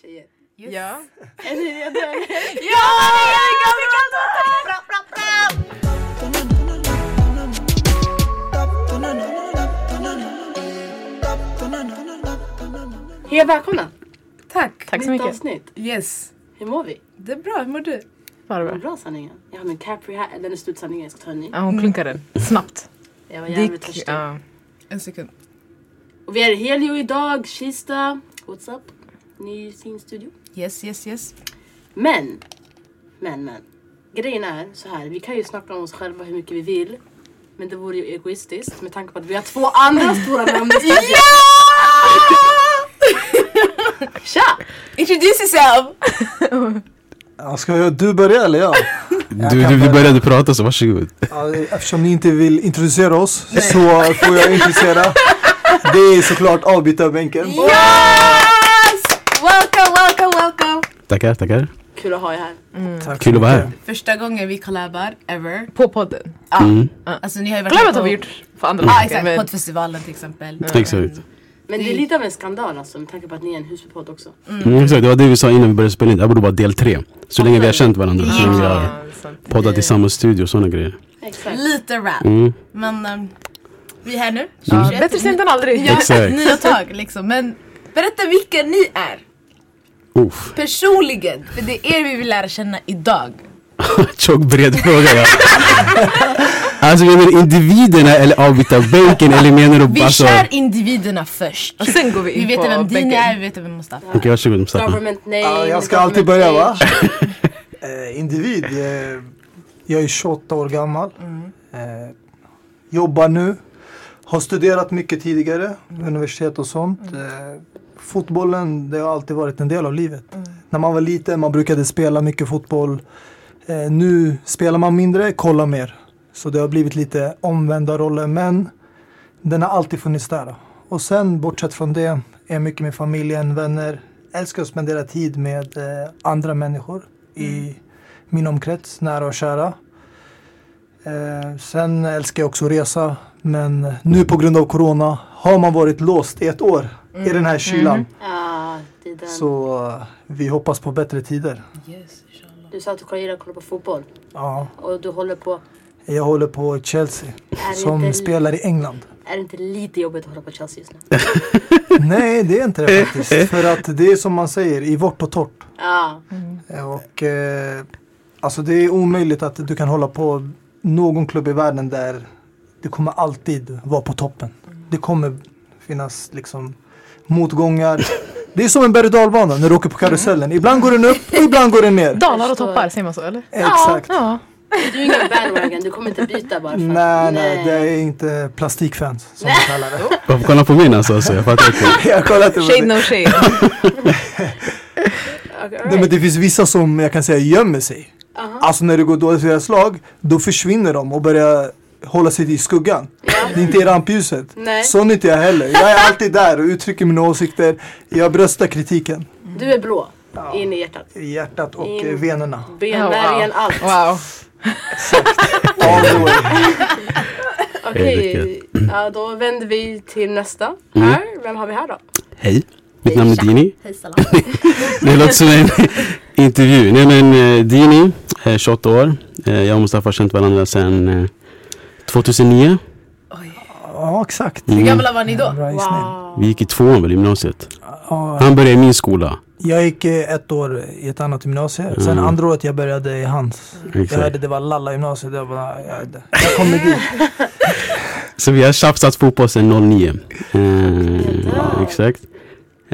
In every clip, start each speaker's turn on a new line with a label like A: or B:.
A: tjejer.
B: Yes.
C: Ja.
A: Eller jag dör. Hej och välkomna!
C: Tack.
D: Tack så
A: Nytt
D: mycket.
A: avsnitt.
C: Yes.
A: Hur mår vi?
C: Det är bra, hur mår du?
D: Vad
A: Vad
D: bra.
A: bra sanningen. Jag har min Capri här. Den är slut sanningen, jag ska ta en ny.
D: Ja, hon klunkar den. Snabbt.
A: Jag var jävligt
D: Dick,
A: törstig.
D: ja.
C: En sekund.
A: Och vi är i Helio idag, Kista. What's up? Ny sin studio.
C: Yes, yes, yes.
A: Men, men, men. Grejen är så här, vi kan ju snacka om oss själva hur mycket vi vill. Men det vore ju egoistiskt med tanke på att vi har två andra stora namn i studion. Tja!
C: Introduce yourself!
E: Ja, Ska jag, du börja eller jag?
F: Du, du, du började prata så varsågod.
E: Ja, Eftersom ni inte vill introducera oss så får jag introducera. Det är såklart avbytarbänken.
C: Yes! Welcome, welcome, welcome!
F: Tackar, tackar.
A: Kul att ha er här.
E: Tack
F: Kul att vara här.
C: Första gången vi collabar ever.
D: På podden.
C: Ja.
F: Mm.
C: Alltså ni har ju varit
D: Glöm
C: med
D: att har
C: på-
D: vi gjort för andra
C: Ja ah,
D: saker,
C: exakt,
D: men-
C: poddfestivalen till exempel.
F: Exakt.
C: Mm.
A: Men det är lite av en skandal alltså med tanke på att ni är en husbypodd också.
F: Mm, exakt. Det var det vi sa innan vi började spela in. Det här borde vara del tre. Så länge vi har känt varandra. Så länge vi har
D: Ja, sant.
F: poddat i samma studio och sådana grejer.
A: Exakt.
C: Lite rap.
F: Mm.
C: Men ehm, vi är här nu.
D: Ja,
C: 2021.
D: Bättre sent än aldrig.
C: Ja, äh,
F: Exakt.
C: nya tag liksom. Men berätta vilka ni är.
F: Uff.
C: Personligen. För det är er vi vill lära känna idag.
F: Tjock bred fråga ja. Alltså menar du individerna eller avbytarbänken eller menar
C: Vi
F: du alltså?
C: kör individerna först.
D: Och sen går Alltså, vi
C: Vi
D: in
C: vet
D: på
C: vem din
D: bänken.
C: är, vi vet vem Mustafa
F: Okej varsågod Mustafa.
A: Government name.
E: Ja, jag ska
A: government
E: alltid börja va?
A: age.
E: Eh, individ. Eh, jag är 28 år gammal. Eh, jobbar nu. Har studerat mycket tidigare. Universitet och sånt. Eh, fotbollen det har alltid varit en del av livet. När man var liten man brukade spela mycket fotboll. Eh, nu spelar man mindre, kollar mer. Så det har blivit lite omvända roller men den har alltid funnits där. Och sen bortsett från det är jag mycket med familjen, vänner. Älskar att spendera tid med eh, andra människor
A: Mm.
E: i min omkrets, nära och kära. Eh, sen älskar jag också att resa. Men nu på grund av corona har man varit låst i ett år i den här
A: Mm.
E: kylan.
A: Ja, det är den.
E: Så eh, vi hoppas på bättre tider.
C: Yes, inshallah.
A: Du sa att du kollar- gillar att kolla på fotboll
E: Ja,
A: och du håller på.
E: jag håller på Chelsea
A: Är det
E: som
A: inte-
E: spelar i England.
A: Är det inte lite jobbigt att hålla på Chelsea just nu?
E: Nej, det är inte det faktiskt. För att det är som man säger, i vårt och torrt.
A: Ja,
E: Och eh, alltså det är omöjligt att du kan hålla på någon klubb i världen där du kommer alltid vara på toppen. Det kommer finnas liksom motgångar. Det är som en berg och dalbana när du åker på
D: Mm.
E: karusellen. Ibland går den upp och ibland går den ner.
D: Dalar och
A: Förstår.
D: toppar, säger man så eller?
E: Exakt.
D: Ja.
A: du är ingen bandwagon. Du kommer inte byta bara för att-
E: Nej, nej, det är inte plastikfans som man kallar det.
F: Varför kolla på min alltså? alltså? Jag fattar inte.
E: Jag har kollat upp
D: Shade
E: det.
D: no shade.
A: Okej, all
E: Nej, men
A: right.
E: det finns vissa som jag kan säga gömmer sig. Alltså när det går dåligt för deras lag, då försvinner de och börjar hålla sig i skuggan. Det är inte i rampljuset.
A: Nej.
E: Sån är inte jag heller. Jag är alltid där och uttrycker mina åsikter. Jag bröstar kritiken.
A: Du är blå. In i hjärtat.
E: I hjärtat och
A: In-
E: eh, venerna.
A: Benmärgen, allt.
D: Wow.
E: All the way.
A: Okej, ja, då vänder vi till nästa.
E: Mm.
A: Här, vem har vi här då?
F: Hej, mitt namn är Dini.
A: Hej Salam.
F: Det låter som en intervju. Nej men eh, Dini, eh, 28 år. Eh, Jag och Mustafa har känt varandra sedan eh, 2009.
E: Ja, exakt.
F: Mm.
C: Hur gamla var ni då?
E: Bra gissning.
A: Wow.
F: Vi gick i tvåan väl, i gymnasiet.
E: Ja,
F: Han började i min skola.
E: Jag gick eh, ett år i ett annat gymnasium. Sen
F: Mm.
E: andra året jag började i hans. Jag
F: Exakt.
E: hörde det var Lalla gymnasiet. Jag bara, jag, jag kommer dit.
F: Så vi har tjafsat fotboll sedan 09. Eh, exakt.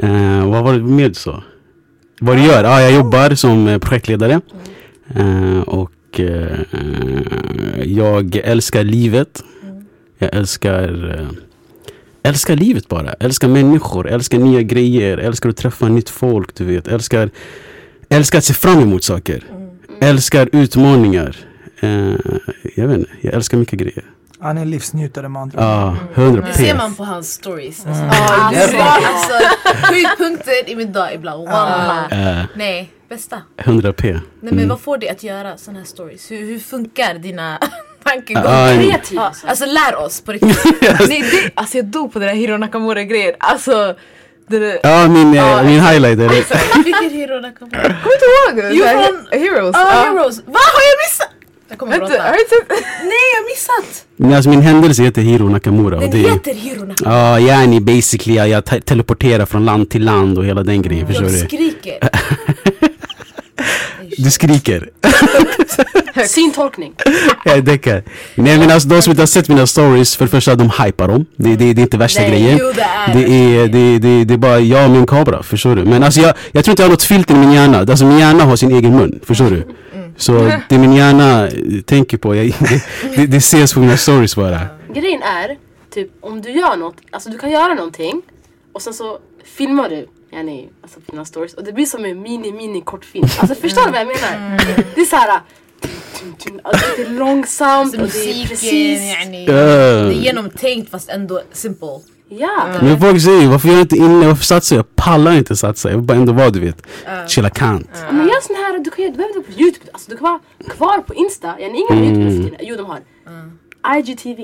F: Eh, vad var det mer du sa? Vad du gör? Ah, jag jobbar som eh, projektledare. Eh, och eh, jag älskar livet. Jag älskar eh, Älskar livet bara. Älskar människor, älskar nya grejer, älskar att träffa nytt folk, du vet. Älskar, älskar att se fram emot saker. Älskar utmaningar. Eh, jag vet inte, jag älskar mycket grejer.
E: Han är en livsnjutare med andra
F: Ja, 100
C: Det
F: p.
C: ser man på hans stories. Alltså,
E: det är
F: Mm.
C: alltså,
E: bra.
C: alltså, höjdpunkter i min dag ibland.
D: Ah.
C: Wallah.
F: Eh,
C: Nej, bästa.
F: 100 p.
C: Nej men vad får dig att göra sådana här stories? Hur, hur funkar dina tankegångar?
F: Ah,
A: Kreativ
D: Ja.
A: alltså.
C: Alltså lär oss på riktigt.
D: Nej, det, alltså jag dog på den här Hiro Nakamura grejen. Alltså Det är-
F: Ja, min, eh, min highlight är
C: Alltså-
F: det.
C: Vilken hero där kommer?
D: Kommer inte ihåg?
C: Jo,
D: Så här,
C: från-
D: he- Heroes.
C: Ah,
D: Ja.
C: heroes! Vad har jag missat? Jag kommer
D: Vänta, har
C: gråta.
D: du inte sett?
C: Nej, jag har missat!
F: Men alltså min händelse heter Hiro Nakamura. Och
C: Den
F: det är,
C: heter Hero
F: ja,
C: Nakamura.
F: yani basically jag, jag te- teleporterar från land till land och hela den grejen. Förstår
C: Jag
F: du?
C: skriker. Alltså,
F: Du skriker.
A: Syntolkning.
F: Jag däckar. Nej men alltså de som inte har sett mina stories, för det första de hypar dem. Det, det, det är inte värsta
C: Nej,
F: grejen.
C: jo, det är
F: det är, det, det, det är bara jag och min kamera, förstår du? Men alltså jag, jag tror inte jag har något filter i min hjärna. Alltså min hjärna har sin egen mun, förstår du? Så det min hjärna eh, tänker på, jag, det, det ses på mina stories bara.
A: Grejen är, typ om du gör något, alltså du kan göra någonting och sen så filmar du yani, alltså på dina stories och det blir som en mini mini kortfilm. Alltså förstår du vad jag menar? Det är såhär, alltså, det är långsamt och det är
C: Alltså, Musiken,
A: precis.
C: yani. Det är
F: Eh,
C: genomtänkt fast ändå simple.
A: Ja,
F: Men folk säger ju, varför gör jag inte inne, varför satsar jag? Jag pallar inte satsa, jag vill bara ändå vara du vet. Chilla kant.
A: men gör sån här, du, kan, göra- du behöver inte vara på youtube, alltså du kan vara kvar på insta, yani ingen har youtube för tiden. Jo de har. IGTV.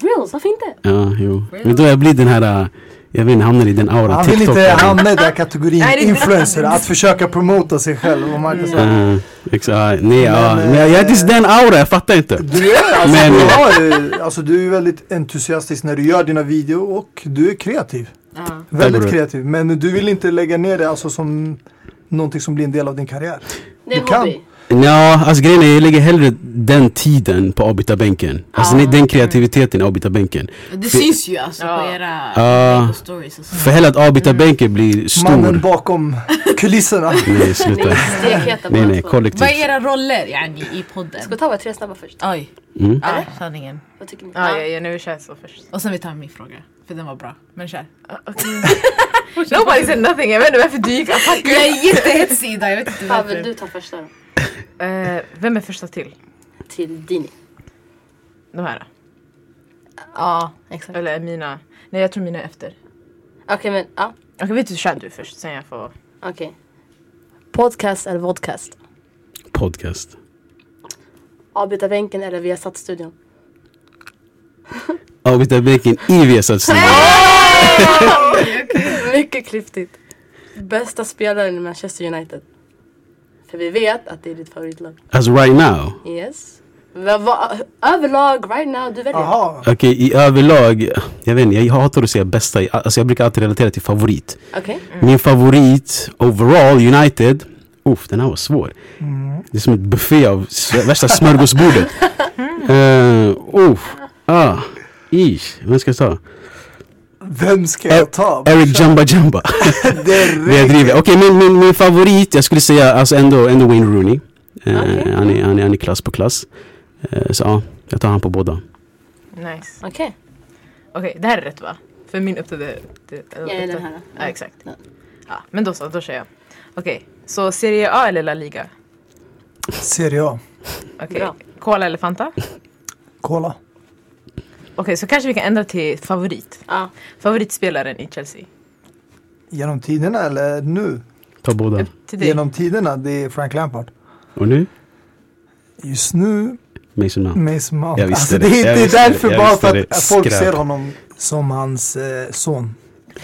A: Reels, varför inte?
F: Ja, jo. Men då jag blir den här, äh, jag vet inte, hamnar i den auran.
E: Han vill inte
F: TikTok. alltså.
E: hamna i den här kategorin
D: Nej, det är inte-
E: influencer, att försöka promota sig själv och marknadsföra.
F: Ja, exakt. ah, Nej, ja.
E: Men,
F: Mm. Men eh, jag jag är inte den aura, jag fattar inte.
E: Du är, alltså,
F: Men-
E: du, har, eh, alltså, du är väldigt entusiastisk när du gör dina videor och du är kreativ.
C: Ja.
E: Väldigt
F: bror.
E: kreativ. Men du vill inte lägga ner det alltså, som någonting som blir en del av din karriär.
A: Det är
E: Du kan.
A: en hobby.
F: Ja, alltså grejen är, jag lägger hellre den tiden på avbytarbänken. Alltså nej, den kreativiteten i avbytarbänken.
C: Det syns ju alltså på
D: Ja.
C: era
F: Ja.
C: uh. stories och
F: För
C: sånt.
F: hellre att avbytarbänken blir
E: Mannen
F: stor.
E: bakom kulisserna.
F: Mm. Nej,
A: Det är
F: sluta.
A: lite stekheta
F: Nej,
A: båda
F: nej,
A: två.
C: Vad är
F: kollektivt.
C: era roller yani i podden?
A: Ska vi ta våra tre snabba först?
C: Oj,
F: Mm.
C: ja, sanningen.
A: Vad tycker ni?
D: Ja, ja, ja, nu kör jag så först.
C: Och sen vi tar min fråga, för den var bra. Men kör.
D: Nobody said nothing, jag vet inte varför du gick attack.
C: Jag är jättehetsig idag, jag vet inte
A: Pavel,
C: varför.
A: du tar första då.
D: Eh, Vem är första till?
A: Till Dini.
D: De här?
C: Ja, exakt.
D: Eller är mina? Nej jag tror mina är efter.
A: Okej men, ja.
D: Okej vet du, kör du först sen jag får...
A: Okej. Podcast eller vodcast?
F: Podcast.
A: Avbytarbänken eller Viasat-studion?
F: Avbytarbänken i alltså, Viasat
A: Mycket klyftigt. Bästa spelaren i Manchester United? För vi vet att det är ditt favoritlag.
F: Alltså right now.
A: Yes. Va, va, överlag, right now, du väljer.
E: Jaha.
F: Okej, i överlag. Jag vet inte, jag hatar att säga bästa. i- Alltså jag brukar alltid relatera till favorit.
A: Okej.
F: Min favorit overall, United. Uff, den här var svår. Det är som ett buffé av s- värsta smörgåsbordet. Uh, uff, ah, ish. Vem ska jag ta?
E: Vem ska jag ta?
F: Eric Jamba Jamba. Det jag
E: Direkt.
F: driver. Okej, min, min, min favorit, jag skulle säga alltså ändå, ändå Wayne Rooney. Eh,
A: Okej.
F: han, är, han, är, han är klass på klass. Eh, så ja, jag tar han på båda.
D: Nice.
A: Okej.
D: Okej det här är rätt va? För min uppdaterade...
A: Jag är den här.
D: Ja exakt.
A: Ja.
D: Ja, men då så, då kör jag. Okej, så Serie A eller La Liga?
E: Serie A.
D: Okej,
A: Bra.
D: Cola eller Fanta? Okej,
E: Kolla.
D: så kanske vi kan ändra till favorit.
A: Ja.
D: Favoritspelaren i Chelsea?
E: Genom tiderna eller nu?
F: Ta båda.
D: Upp till dig.
E: Genom tiderna, det är Frank Lampard.
F: Och nu?
E: Just nu,
F: Mason Mount.
E: Mason Mount.
F: Jag visste
E: alltså,
F: det.
E: det, är-
F: Jag
E: det är
F: visste det.
E: därför
F: Jag
E: bara
F: visste
E: för att
F: det.
E: folk
F: Skräp.
E: ser honom som hans eh, son.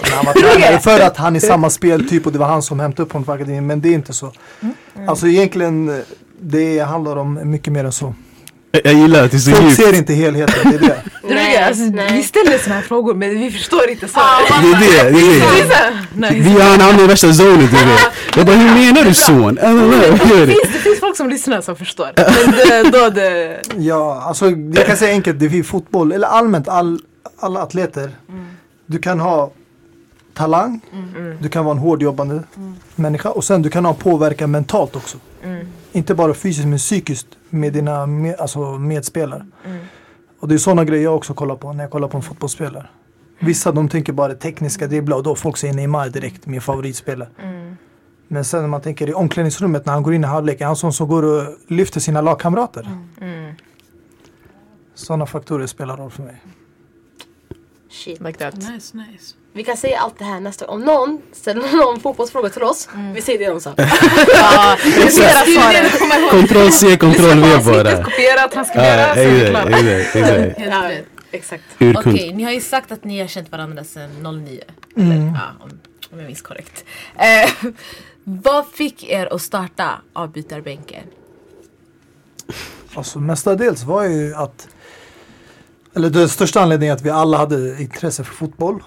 E: När han var tränare. för att han är samma speltyp och det var han som hämtade upp honom från akademin. Men det är inte så. Alltså egentligen, eh, det handlar om mycket mer än så.
F: Mm. Jag, jag gillar att det är så
E: Folk
F: djupt.
E: ser inte helheten, det är det.
D: Du vet, alltså, Vi ställer såna här frågor men vi förstår inte svaret.
F: Det är det, det är det.
D: Det är så här, nice.
F: Vi har en annan värsta zonen du vet. Jag bara, hur menar du son? Äh, vad gör du?
D: Finns, det finns folk som lyssnar som förstår. Men det, då det...
E: Ja, alltså jag kan säga enkelt, det är fotboll, eller allmänt all, alla atleter. Du kan ha talang, du kan vara en hårdjobbande människa och sen du kan ha påverkan mentalt också. Inte bara fysiskt men psykiskt med dina med, alltså, medspelare. Och det är sådana grejer jag också kollar på när jag kollar på en fotbollsspelare. Vissa de tänker bara det tekniska, det är bra. Då folk säger Neymar direkt, min favoritspelare. Men sen när man tänker i omklädningsrummet när han går in i halvlek, är han sån som går och lyfter sina lagkamrater? Sådana faktorer spelar roll för mig.
A: Shit.
D: Like that.
C: Nice, nice.
A: Vi kan säga allt det här nästa gång. Om någon ställer någon fotbollsfråga till oss, vi säger det de sa.
D: Ja, det är flera
C: Studien
D: svar.
C: kommer ihåg.
F: Kontroll C, kontroll V bara.
D: Kopiera,
F: Ja,
D: transkribera, så är det klart.
F: exakt, exakt, exakt.
C: Helt rätt.
A: Exakt.
F: Urkund.
C: Okej, ni har ju sagt att ni har känt varandra sedan 09. Eller, ja, om- om jag minns korrekt. Eh, vad fick er att starta avbytarbänken?
E: Alltså mestadels var ju att eller den största anledningen är att vi alla hade intresse för fotboll.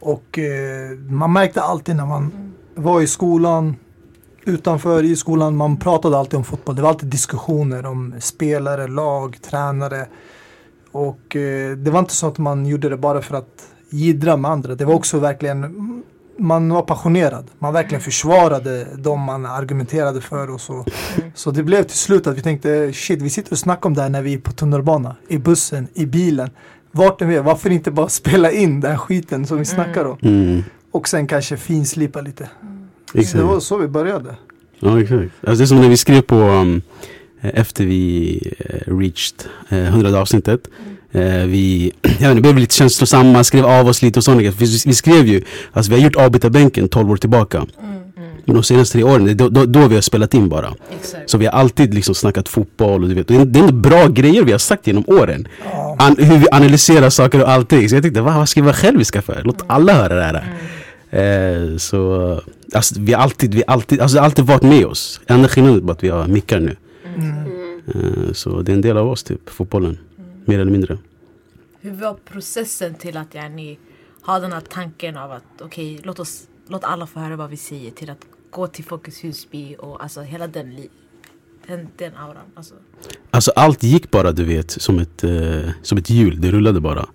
E: Och eh, man märkte alltid när man var i skolan, utanför i skolan, man pratade alltid om fotboll. Det var alltid diskussioner om spelare, lag, tränare. Och eh, det var inte så att man gjorde det bara för att jiddra med andra. Det var också verkligen, mm, man var passionerad. Man verkligen försvarade de man argumenterade för och så. Så det blev till slut att vi tänkte shit, vi sitter och snackar om det här när vi är på tunnelbana, i bussen, i bilen. Vart än vi är, varför inte bara spela in den skiten som vi snackar om?
F: Mm.
E: Och sen kanske finslipa lite. Mm. Så det var
F: Exakt.
E: så vi började.
F: Ja, exakt. Alltså det är som när vi skrev på um, eh, efter vi eh, reached eh, 100 avsnittet. Eh, vi jag vet inte, blev lite känslosamma, skrev av oss lite och sådana grejer. För Vi, vi skrev ju, alltså vi har gjort avbytarbänken 12 år tillbaka. Men de senaste tre åren, det är då, då, då vi har spelat in bara.
C: Exakt.
F: Så vi har alltid liksom snackat fotboll och du vet, det är, det är ändå bra grejer vi har sagt genom åren. An, hur vi analyserar saker och allting. Så jag tänkte, va, vad ska vi vara själviska för? Låt alla höra det här. Eh, så alltså, vi har alltid, vi har alltid, alltså, det har alltid varit med oss. Enda skillnaden är bara att vi har mickar nu. Eh, så det är en del av oss typ, fotbollen. Mer eller mindre.
C: Hur var processen till att ja, ni har den här tanken av att okej, låt oss låt alla få höra vad vi säger till att gå till Folkets Husby och alltså hela den, li- den, den auran. Alltså.
F: Alltså allt gick bara du vet som ett, eh, som ett hjul, det rullade bara.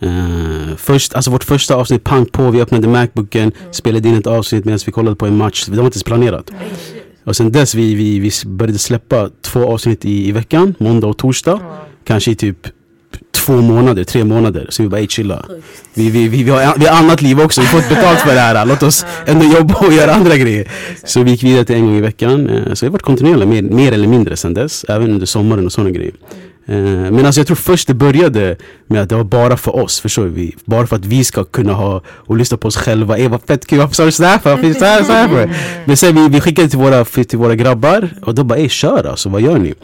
F: Eh, först, alltså vårt första avsnitt pang på, vi öppnade Macbooken, spelade in ett avsnitt medan vi kollade på en match. Det var inte ens planerat. Och sen dess vi, vi, vi började släppa två avsnitt i, i veckan, måndag och torsdag. Kanske i typ två månader, tre månader. Så vi bara, ey chilla. Vi, vi, vi, vi, har, vi har annat liv också, vi får inte betalt för det här. Låt oss ändå jobba och göra andra grejer. Så vi gick vidare till en gång i veckan. Eh, Så vi har varit kontinuerliga mer, mer eller mindre sedan dess. Även under sommaren och sådana grejer. Eh, Men alltså jag tror först det började med att det var bara för oss, förstår vi? Bara för att vi ska kunna ha och lyssna på oss själva. Ey vad fett kul, varför sa du sådär för? Varför så här, så här för? Men sen vi, vi skickade till våra, till våra grabbar och de bara ey kör alltså, vad gör ni?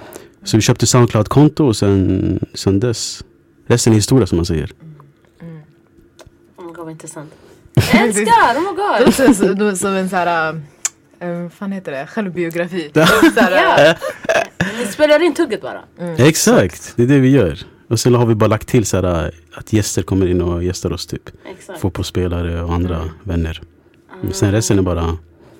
F: Så vi köpte Soundcloud-konto och sen, sen dess. Resten är historia som man säger.
A: Oh my god vad intressant. Jag älskar! Oh my
D: Det
A: god!
D: låter som- det som en sån här, äh, eh, vad fan heter det, självbiografi.
F: Ja.
D: Så här, eh,
A: Ja. Ni spelar in tugget bara.
F: Exakt, det är det vi gör. Och sen har vi bara lagt till så här äh, att gäster kommer in och gästar oss typ.
A: Exakt.
F: Fotbollsspelare och andra vänner. Men sen resten är bara,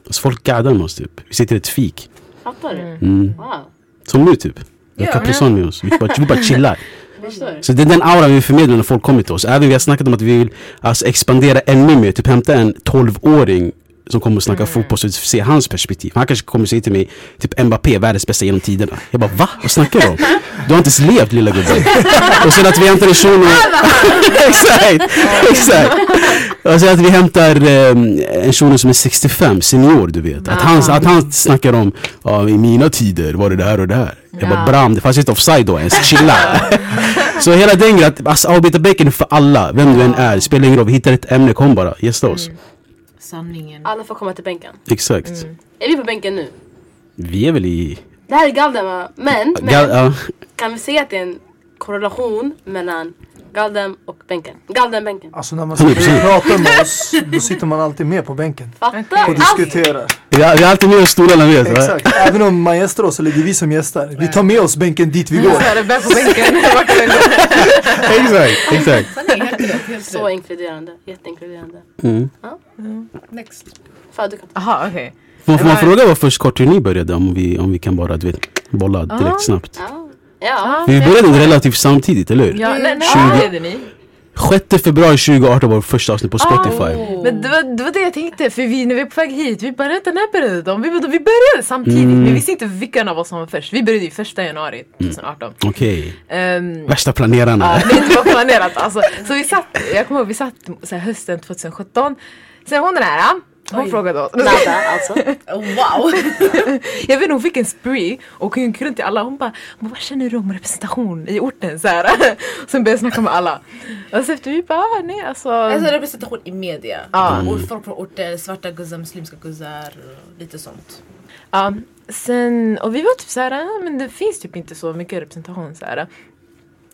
F: alltså folk gaddar med oss typ. Vi sitter i ett fik.
A: Fattar du?
F: Mm.
A: Wow.
F: Som nu typ. Vi har
D: Ja,
F: Capricorn med oss. Vi bara, vi bara chillar.
A: Förstår du?
F: Så det är den auran vi förmedlar när folk kommer till oss. Även vi har snackat om att vi vill alltså, expandera ännu mer. Typ hämta en 12-åring som kommer och snackar fotboll så vi får se hans perspektiv. Han kanske kommer säga till mig typ Mbappé, världens bästa genom tiderna. Jag bara va? Vad snackar du om? Du har inte ens levt lilla gubben. och sen att vi hämtar en shuno. exakt, exakt. Och sen att vi hämtar ehm, en shuno som är 65, senior du vet. Att han, att han snackar om, ja i mina tider var det det här och det här. Jag bara bram, det fanns inte offside då ens, chilla. Så hela den grejen, att alltså, avbytarbänken är för alla, vem du än är, det spelar ingen roll, vi hittar ett ämne, kom bara, gästa oss.
C: Sanningen.
A: Alla får komma till bänken.
F: Exakt.
A: Är vi på bänken nu?
F: Vi är väl i...
A: Det här är Galdem va? Men,
F: Gal-
A: men
F: ja.
A: kan vi säga att det är en korrelation mellan Galdem och bänken? Galdem-bänken.
E: Alltså när man
F: 100%.
E: sitter och pratar med oss, då sitter man alltid med på bänken.
A: Fattar?
E: Och diskuterar.
F: vi, har, vi har alltid med oss stolarna med oss, va?
E: Exakt. Även om man gästar oss, eller det är vi som gästar. Vi tar med oss bänken dit vi går.
D: Så här, bär på bänken. vart den går.
F: Exakt, exakt.
C: Sanningen, helt rätt, helt
A: Så
D: Så.
A: inkluderande. Jätteinkluderande.
F: Mm.
C: Next.
A: Fan, du kan
D: Aha, okej.
F: Får, får man fråga vad först kort hur ni började? Om vi, om vi kan bara, du vet, bolla direkt snabbt.
A: Ja. Ja.
F: För vi började relativt samtidigt, eller hur?
D: Ja, nej, nej,
F: Tjugo.
D: vad heter ni?
F: 6 februari 2018 var vårt första avsnitt på Spotify.
D: Oh. Men det var, det var det jag tänkte, för vi, när vi var på väg hit, vi bara vänta när började de? Vi, vi började samtidigt,
F: Mm.
D: men vi visste inte vilken av oss som var först. Vi började ju första januari 2018.
F: Okej,
D: Ehm,
F: värsta planerarna.
D: Ja, det är inte vad planerat alltså. Så vi satt, jag kommer ihåg vi satt så här, hösten 2017. Sen hon den här, hon
C: Oj.
D: frågade oss.
A: Nada alltså.
C: Oh, Wow!
D: Jag vet inte, hon fick en spree och hon gick runt till alla. Hon bara, "Men vad känner du om representation i orten? Så här. Sen började jag snacka med alla. Och så efter vi bara, "Ah, nej alltså.
C: Alltså representation i media.
D: Ja.
C: Och folk från orter, svarta guzzar, muslimska guzzar, lite sånt.
D: Ja, sen, och vi var typ så här, "Ah, men det finns typ inte så mycket representation så här.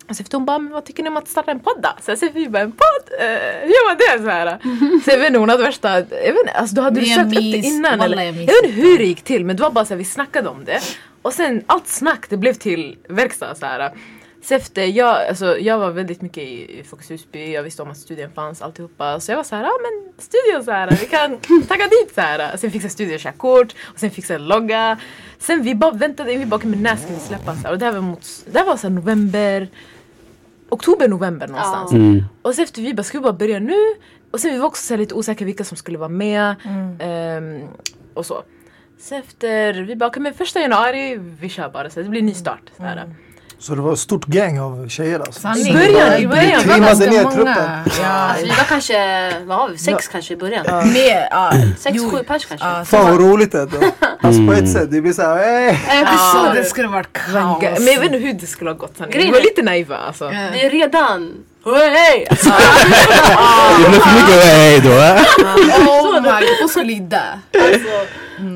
D: Och så efter hon bara, men vad tycker ni om att starta en podd då? Så jag säger, vi bara, en podd? Eh, hur gör man det? Så, här. så jag vet inte, hon hade värsta, jag vet inte, alltså, då hade du
C: Men jag
D: sökt upp det
C: minns-
D: innan.
C: wallah,
D: Eller, jag
C: jag minns
D: vet inte hur det gick till, men det var bara så här, vi snackade om det. Och sen allt snack, det blev till verkstad. Så här. Så efter, jag, alltså, jag var väldigt mycket i i Fokus Husby, jag visste om att studien fanns, alltihopa. Så jag var så här, ja ah, men studion så här, vi kan tagga dit så här. Sen fixade studion körkort, och sen fixade jag logga. Sen vi bara väntade, vi bara, okej men när ska vi släppa? Så här. Och det här var, mot, det här var så här, november, oktober, november någonstans.
F: Mm.
D: Och sen efter vi bara, ska vi bara börja nu? Och sen vi var också så här lite osäkra vilka som skulle vara med.
C: Mm.
D: ehm, och så. Sen efter, vi bara, okej men första januari, vi kör bara. Så det
C: Mm.
D: blir ny start. Så här.
E: Så det var ett stort gäng av tjejer alltså.
D: I början, i början.
E: Trimmade ner
C: Ja,
A: Alltså, vi var kanske, vad var vi, sex kanske i början?
C: mer, ja.
A: Sex,
C: Jo,
A: sju pers kanske?
C: ja, så
E: Fan vad
C: var-
E: roligt det är. Alltså på ett sätt, det blir "Äh." såhär hey.
A: Eh, precis.
C: Så det skulle varit kaos.
D: Men jag vet inte hur det skulle ha gått. Sanne. Vi
A: Grejen
D: var
A: är-
D: lite naiva alltså.
A: Vi är redan... Hej! Alltså,
F: Det blev för mycket hej då. eh?
C: Oh my god, hon skulle ju dö.
A: Alltså.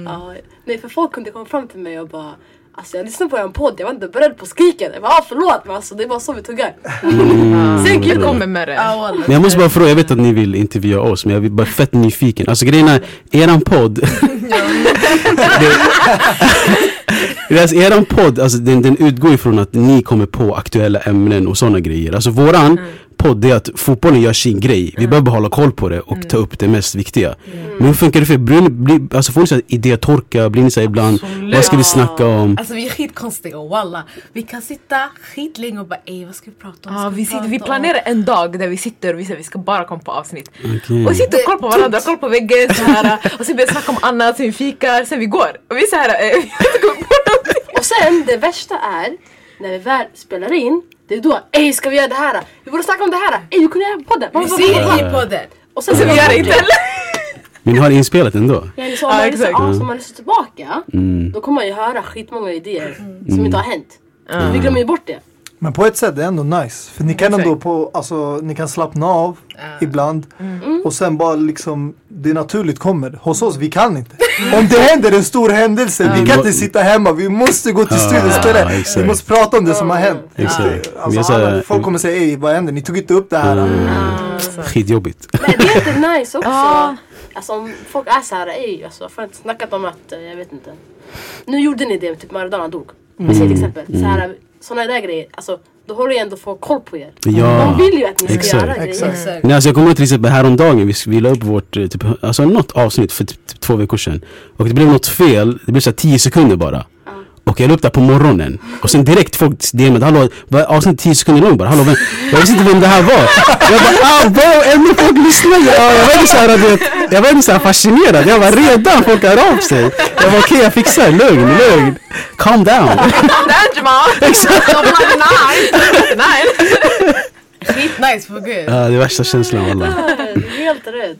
A: ja, nej, för folk kunde komma fram till mig och bara Alltså jag lyssnade på en podd, jag var inte beredd på skriken. Jag bara ah, förlåt men alltså det är bara så vi tuggar.
F: Mm,
D: Sen Gud kommer med det.
C: Ja, wallah.
F: Men jag måste bara fråga, jag vet att ni vill intervjua oss men jag blir bara fett nyfiken. Alltså grejen är, eran podd. det, alltså, eran podd, alltså, den, den utgår ifrån att ni kommer på aktuella ämnen och sådana grejer. Alltså våran podd är att fotbollen gör sin grej. Vi behöver hålla koll på det och ta upp det mest viktiga. Men hur funkar det för er? Blir ni- blir- Alltså får ni så här idétorka? Blir ni så här ibland, vad ska vi snacka om?
C: Alltså vi är skitkonstiga walla. Vi kan sitta skitlänge och bara ey vad ska vi prata om? Vad
D: Ja,
C: ska
D: vi, sitter,
C: prata
D: vi
C: om?"
D: planerar en dag där vi sitter och vi säger vi ska bara komma på avsnitt.
F: Okej.
D: Och sitter och kollar på varandra, kollar på väggen så här, och sen börjar vi snacka om annat, sen vi fikar, sen vi går. Och vi är så här, eh, vi har inte kommit på någonting.
A: Och sen det värsta är när vi väl spelar in, det är då ey ska vi göra det här? Vi borde snacka om det här! Ey vi kunde göra en podd!
C: Vi ser i podden.
A: Och sen
D: Så vi gör det inte heller.
F: Men ni har inspelat ändå?
A: Ja, eller så liksom- om
D: Ja,
A: man,
D: exakt.
A: lyssnar, ja, så om man lyssnar tillbaka då kommer man ju höra skitmånga idéer som inte har hänt. Vi glömmer ju bort det.
E: Men på ett sätt det är ändå nice. För ni kan ändå på, alltså, ni kan slappna av ibland.
F: Mm.
E: Och sen bara liksom, det naturligt kommer. Hos oss, vi kan inte.
F: Mm.
E: Om det händer en stor händelse, vi kan inte sitta hemma. Vi måste gå till studion och spela.
F: Ah, exakt. Ah.
E: Vi måste prata om det som har hänt.
F: Exakt. Vi är
E: Alltså,
F: så här-
E: alla, folk kommer säga ey vad händer? Ni tog inte upp det här.
F: Mm. Skitjobbigt.
A: Nej det är inte nice också.
D: Ja.
A: Alltså om folk är såhär, ey alltså varför har ni inte snackat om att, eh, jag vet inte. Nu gjorde ni det typ Maradona dog. Vi säger till exempel. Så här, såna där grejer. Alltså då håller ju ändå folk koll på er.
F: Ja,
A: De vill ju att ni ska
F: exakt.
A: göra grejer.
E: Exakt.
C: Exakt.
F: Nej, alltså jag kommer ihåg till exempel häromdagen, vi, vi la upp vårt, eh, typ, alltså något avsnitt för typ, typ två veckor sedan. Och det blev något fel, det blev såhär 10 sekunder bara. Och jag la upp det här på morgonen. Och sen direkt folk DMade, hallå, var avsnittet 10 sekunder långt bara? Hallå, vem, jag visste inte vem det här var. Jag bara, ah wow, ändå folk lyssnar. Jag, jag var ändå såhär, du vet, jag var ändå såhär fascinerad. Jag var redan, folk hör av sig. Jag var okej, jag fixar det, lugn, lugn. Calm down.
D: Det är inte man. Nej.
C: Skitnice för gud.
F: Ja, det är värsta känslan wallah.
A: Du är helt rädd.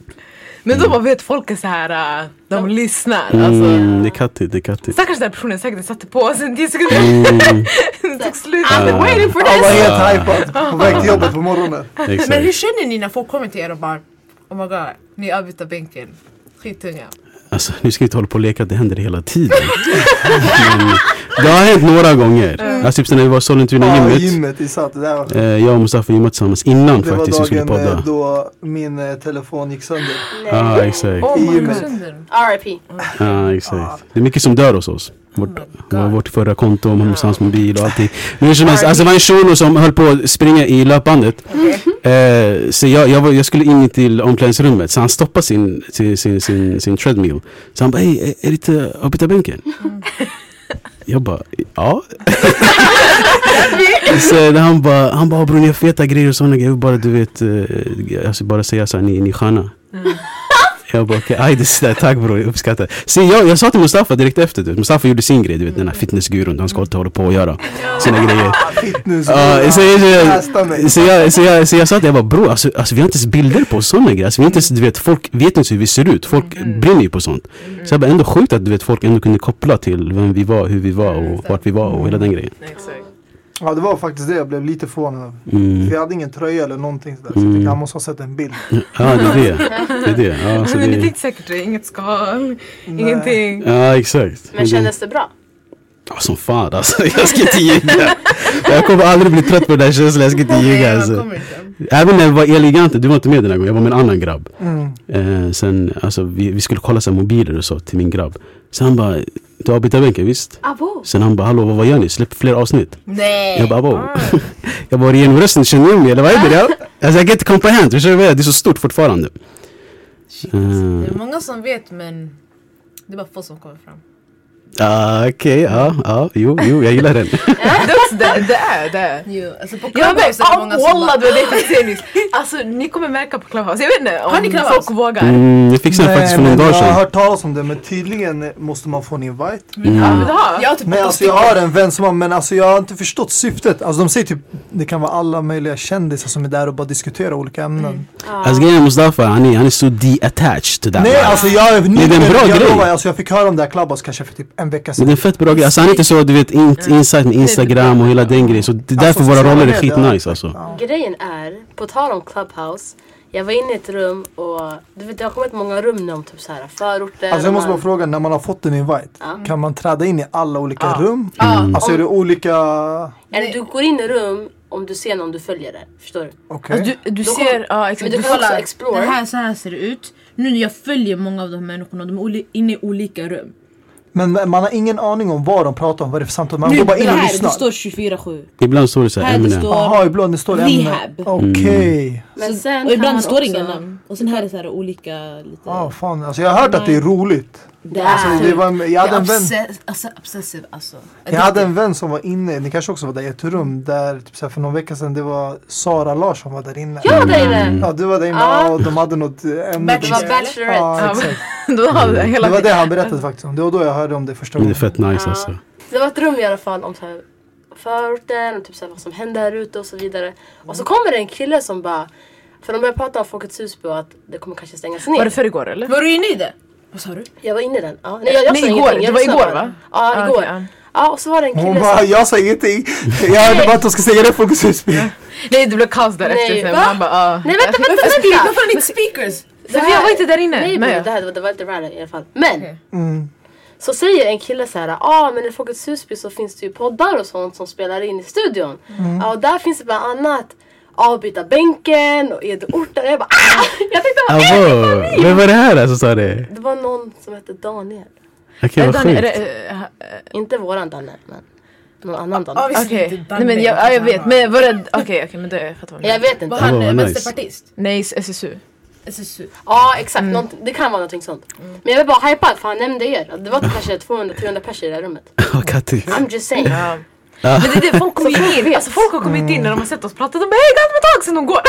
D: Men då bara vet folk är så här, äh, de lyssnar. Alltså.
F: Mm, det är kattigt, det är kattigt.
D: Stackars den här personen säkert satte på sen 10 sekunder. Det tog slut.
A: Waiting for
E: Han
A: this!
E: var helt hypad
F: Ah.
E: på väg till jobbet på morgonen.
C: Men
F: Exakt.
C: hur känner ni när folk kommer till er och bara Oh my god, ni avbyter bänken. Skittunga.
F: Alltså, nu ska vi inte hålla på och leka att det händer hela tiden. Men det har hänt några gånger. Alltså typ när vi var i Sollentuna
E: Mm. Ja,
F: gymmet.
E: gymmet, vi satt där.
F: Eh, jag och Mustafa gymmade tillsammans innan
E: Det var
F: faktiskt vi skulle
E: dagen eh,
F: podda.
E: då min eh, telefon gick sönder.
F: Ja, ah, exakt.
D: Oh
E: I
D: my
E: gymmet.
D: god.
A: R.I.P.
F: Ah, exakt. Det är mycket som dör hos oss. Vårt,
C: God.
F: vårt förra konto, hans mobil och allting. Men hur som helst, alltså det var en shuno som höll på att springa i löpbandet.
E: Mm.
F: Eh, så jag, jag, var, jag skulle in till omklädningsrummet, så han stoppade sin, sin, sin, sin, sin treadmill. Så han bara, hej, är- är det inte avbytarbänken? Jag bara, ja. så han bara, han bara, bror ni har feta grejer och sådana grejer. Jag vill bara, du vet, eh, alltså bara säga så här, ni, ni är sköna. Jag bara, okej, aj, det är sådär, tack bror, jag uppskattar. Så jag, jag sa till Mustafa direkt efter, du vet, Mustafa gjorde sin grej, du vet den här fitnessgurun, han ska alltid hålla på och göra sina grejer.
E: Fitness.
F: Ja, så, jag- så,
E: Kasta mig.
F: jag, så, jag, så, jag, så jag sa till jag bara bror, alltså, alltså vi har inte ens bilder på sådana grejer. Alltså, vi har inte ens, du vet, folk vet inte hur vi ser ut. Folk brinner ju på sånt. Så jag bara ändå sjukt att du vet, folk ändå kunde koppla till vem vi var, hur vi var och vart vi var och hela den grejen.
D: Exakt.
E: Ja det var faktiskt det jag blev lite förvånad över.
F: Mm.
E: Vi hade ingen tröja eller någonting sådär. Så jag tänkte han måste ha sett en bild.
F: Ja, det är det. Det är det. Ja, så
D: Men ni
F: det
D: tänkte säkert inget skal, ingenting.
F: ja exakt.
A: Men kändes det bra?
F: Ja, som fan alltså. Jag ska inte ljuga. Jag kommer aldrig bli trött på den här känslan. Jag ska inte ljuga alltså. Även när jag var eleganten, du var inte med den här gången. Jag var med en annan grabb.
E: Mm.
F: Eh, sen, alltså, vi, vi skulle kolla så här, mobiler och så till min grabb. Sen han bara, du avbyter bänken visst?
A: Abo!
F: Sen han bara, hallå vad vad gör ni? Släpp fler avsnitt.
C: Nej!
F: Jag bara, wow.
E: Ah.
F: jag bara, genom rösten känner ni mig eller vad är det? Jag, alltså, jag kan inte comprehend. Förstår du vad jag menar? Det är så stort fortfarande.
C: Shit.
F: Mm.
C: Det är många som vet men det är bara få som kommer fram.
F: Ah, Okej, ja, ja, jo, jo, jag gillar den.
D: Det, det, det är det.
C: Jo, alltså på
D: Jag vet,
C: Clubhouse är det många som
D: wallah
C: bara...
D: du är lite senis. Alltså ni kommer märka på Clubhouse. Jag vet inte
C: Har ni
D: om
C: Clubhouse?
D: folk vågar.
F: Mm, jag fixade den faktiskt för någon
E: men
F: dag
E: jag har
F: sedan.
E: hört talas om det men tydligen måste man få en invite.
D: Ja, men det har.
C: Jag har typ
E: Men alltså jag har en vän som har, men alltså jag har inte förstått syftet. Alltså de säger typ, det kan vara alla möjliga kändisar som är där och bara diskuterar olika ämnen.
D: Mm.
F: Alltså grejen är Mustafa, han är, han är så detached till det
E: Nej alltså jag är
F: en
E: nyligen,
F: bra
E: jag
F: grej.
E: lovar, alltså jag fick höra om det här Clubhouse kanske för typ en vecka
F: Men det är
E: sedan.
F: en fett bra grej. Alltså han är inte så, du vet, in, insight med Instagram och hela den grejen. Så det är därför
E: sociala
F: våra roller är
E: medier.
F: skitnice alltså.
E: Ja.
A: Grejen är, på tal om Clubhouse. Jag var inne i ett rum och du vet det har kommit många rum nu om typ så här förorter.
E: Alltså jag
A: och
E: måste
A: man-
E: bara fråga, när man har fått en invite, kan man träda in i alla olika rum? Alltså är det olika,
D: Alltså,
A: Eller du går in i rum om du ser någon du följer där. Förstår du?
E: okej?
D: Alltså, du, du
A: Då
D: ser,
A: kommer-
D: ja exakt.
A: Men
D: Du
A: du
D: ser-
A: kan också
C: Kolla,
A: explore.
C: det här, så här ser det ut. Nu när jag följer många av de här människorna, de är oli- inne i olika rum.
E: Men man har ingen aning om vad de pratar om, vad det är för samtal. Man
C: Nu,
E: går bara in
C: det
E: och
C: här, det
E: lyssnar.
C: står 24-7.
F: Ibland står det så här,
C: Här det
F: Eminem.
C: står...
E: Jaha, ibland det står ämnen.
C: Rehab.
E: Okej.
F: Mm.
A: Men sen
C: och ibland
A: kan
C: står det
A: man
C: inga
A: också-
C: namn. Och sen här är så här olika... Lite...
E: Ja, fan. Alltså jag har hört att det är roligt.
A: Det
E: Alltså, det
A: är...
E: var, en- jag, hade en vän,
C: alltså, obsessiv alltså.
E: jag hade en vän som var inne, ni kanske också var där i ett rum där typ så här, för någon vecka sedan det var Sara Larsson var där inne. Mm.
A: Ja, där inne!
E: Ja, du var där inne
A: Ja.
E: och de hade något eh, ämne.
A: Det var Bachelorette.
E: Ja,
D: Ja,
E: exakt.
D: men- då har det hela
E: Det var det han berättade faktiskt om. Det var då jag hörde om det första
F: Men det är
E: gången.
F: fett nice alltså.
A: Det var ett rum i alla fall om så här förorten och typ så här vad som händer här ute och så vidare. Och så kommer det en kille som bara... För de började prata om Folkets hus och att det kommer kanske stängas ner.
D: Var det för igår eller?
C: Var du inne i det? Vad sa du?
A: Jag var inne i den. Ja. Nej, jag, jag
D: Nej,
A: sa
D: igår.
A: ingenting.
D: Det
A: Jag
D: var
A: lyssnade
D: igår,
A: bara.
D: va?
A: Ja,
D: Ah,
A: igår.
D: okej, ja.
A: Ja, och så var det en
E: Hon
A: kille
E: bara,
A: som...
E: jag sa ingenting. Jag hörde bara att de ska stänga ner Folkets Husby.
D: Nej det blev kaos
A: Nej,
D: därefter sen.
A: va?
D: Han bara ah.
A: Nej vänta, vänta,
C: Varför speak-
A: vänta!
C: varför har ni inte speakers?
A: Det
D: För jag var inte där inne.
A: Nej,
D: Men-
A: men det, här, det var inte rally i alla fall. Men!
E: Mm.
A: Så säger en kille så här, ja ah, men i Folkets Husby så finns det ju poddar och sånt som spelar in i studion. Ja, och där finns det bland annat Avbyta bänken och Edo Orten. Jag bara ah! Jag tänkte bara,
F: Avo, Alltså, vem var det här alltså sa det?
A: det var någon som hette Daniel.
F: Okej vad
D: Dan- är
F: sjukt.
D: det, eh,
A: Inte våran Danne men någon annan Danne.
D: Okej, nej men jag, ja, jag vet. Men var det, okej okej, men det jag fattar vad ni
A: Jag
D: menar.
A: vet
C: Var
A: inte.
F: han,
C: han
F: Åh, eh, nice.
C: vänsterpartist?
D: Nej SSU.
C: SSU.
A: Ja exakt,
D: Mm.
A: nånt- det kan vara någonting sånt. Men jag blev bara hypad för han nämnde er. Det var typ kanske 200-300 pers i det där rummet.
F: Ja, Katti.
D: Mm.
A: I'm just saying.
D: Ja. Men det är det, folk kommer ju in. Alltså folk har kommit in när de har sett oss prata. De bara hej det har ett tag sedan de går.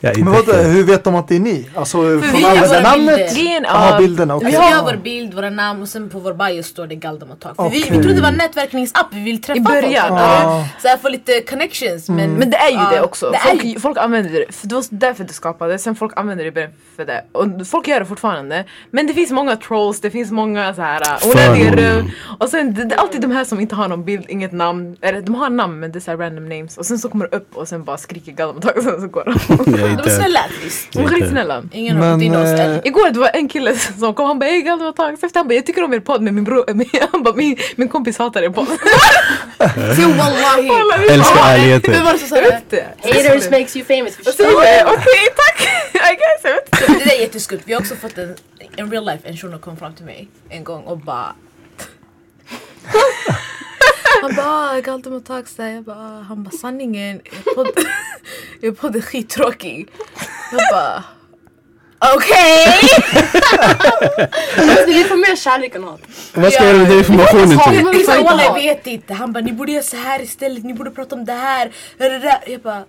F: Jag är
E: Men vadå,
F: inte-
E: hur vet de att det är ni? Alltså, får
C: vi
E: man använda
C: har våra
E: namnet?
C: bilder.
D: Det är en,
E: Jaha,
D: ja.
E: bilderna.
C: Vi
E: Okej.
C: har vår bild, våra namn och sen på vår bio står det Galdemotag. För vi,
E: Okej.
C: vi trodde det var en nätverkningsapp, vi vill träffa
D: I början,
C: folk.
E: ja.
C: Så här, få lite connections. Men,
E: Mm.
D: Men det är ju
C: Ja,
D: det också.
C: det är
D: folk,
C: ju-
D: folk använder det. För det var därför det skapades. Sen folk använder det i början för det. Och folk gör det fortfarande. Men det finns många trolls, det finns många så här äh, onödiga
F: många.
D: rum. Och sen det, det är alltid de här som inte har någon bild, inget namn. Eller de har namn men det är så här random names. Och sen så kommer det upp och sen bara skriker Gallimotag och sen så går de.
F: Jag är
C: de är
F: inte...
C: snälla visst.
D: De är skitsnälla.
C: Ingen har fått in
E: Men,
C: oss
E: eh,
C: än.
D: Igår det var en kille som kom, han bara hej Gallimotag. Så Efter han bara jag tycker om er podd men min bror, han bara min, min kompis hatar er podd.
C: Se wallahi!
F: Älskar ärligheten.
C: Vem var det som sa
D: Jag
C: det?
D: vet inte.
A: Haters makes you famous.
D: Och så
A: Förstår
D: gjorde
A: du?
D: jag, Okej tack! I guess, jag vet inte.
C: Det där är jätteskumt. Vi har också fått en, en real life, en shuno kom fram till mig en gång och bara Han bara "Ah, Galdemontag såhär, jag bara, "Ah." han bara sanningen, er podd, er podd är skittråkig. Jag bara okej!
A: Alltså, Vi får mer kärlek än hat.
F: Vad ska jag göra med den informationen till?
A: men
C: Vi sa
A: får inte
C: "Walla, jag
A: ha."
C: vet inte. Han bara ni borde göra så här istället, ni borde prata om det här. det där." Jag bara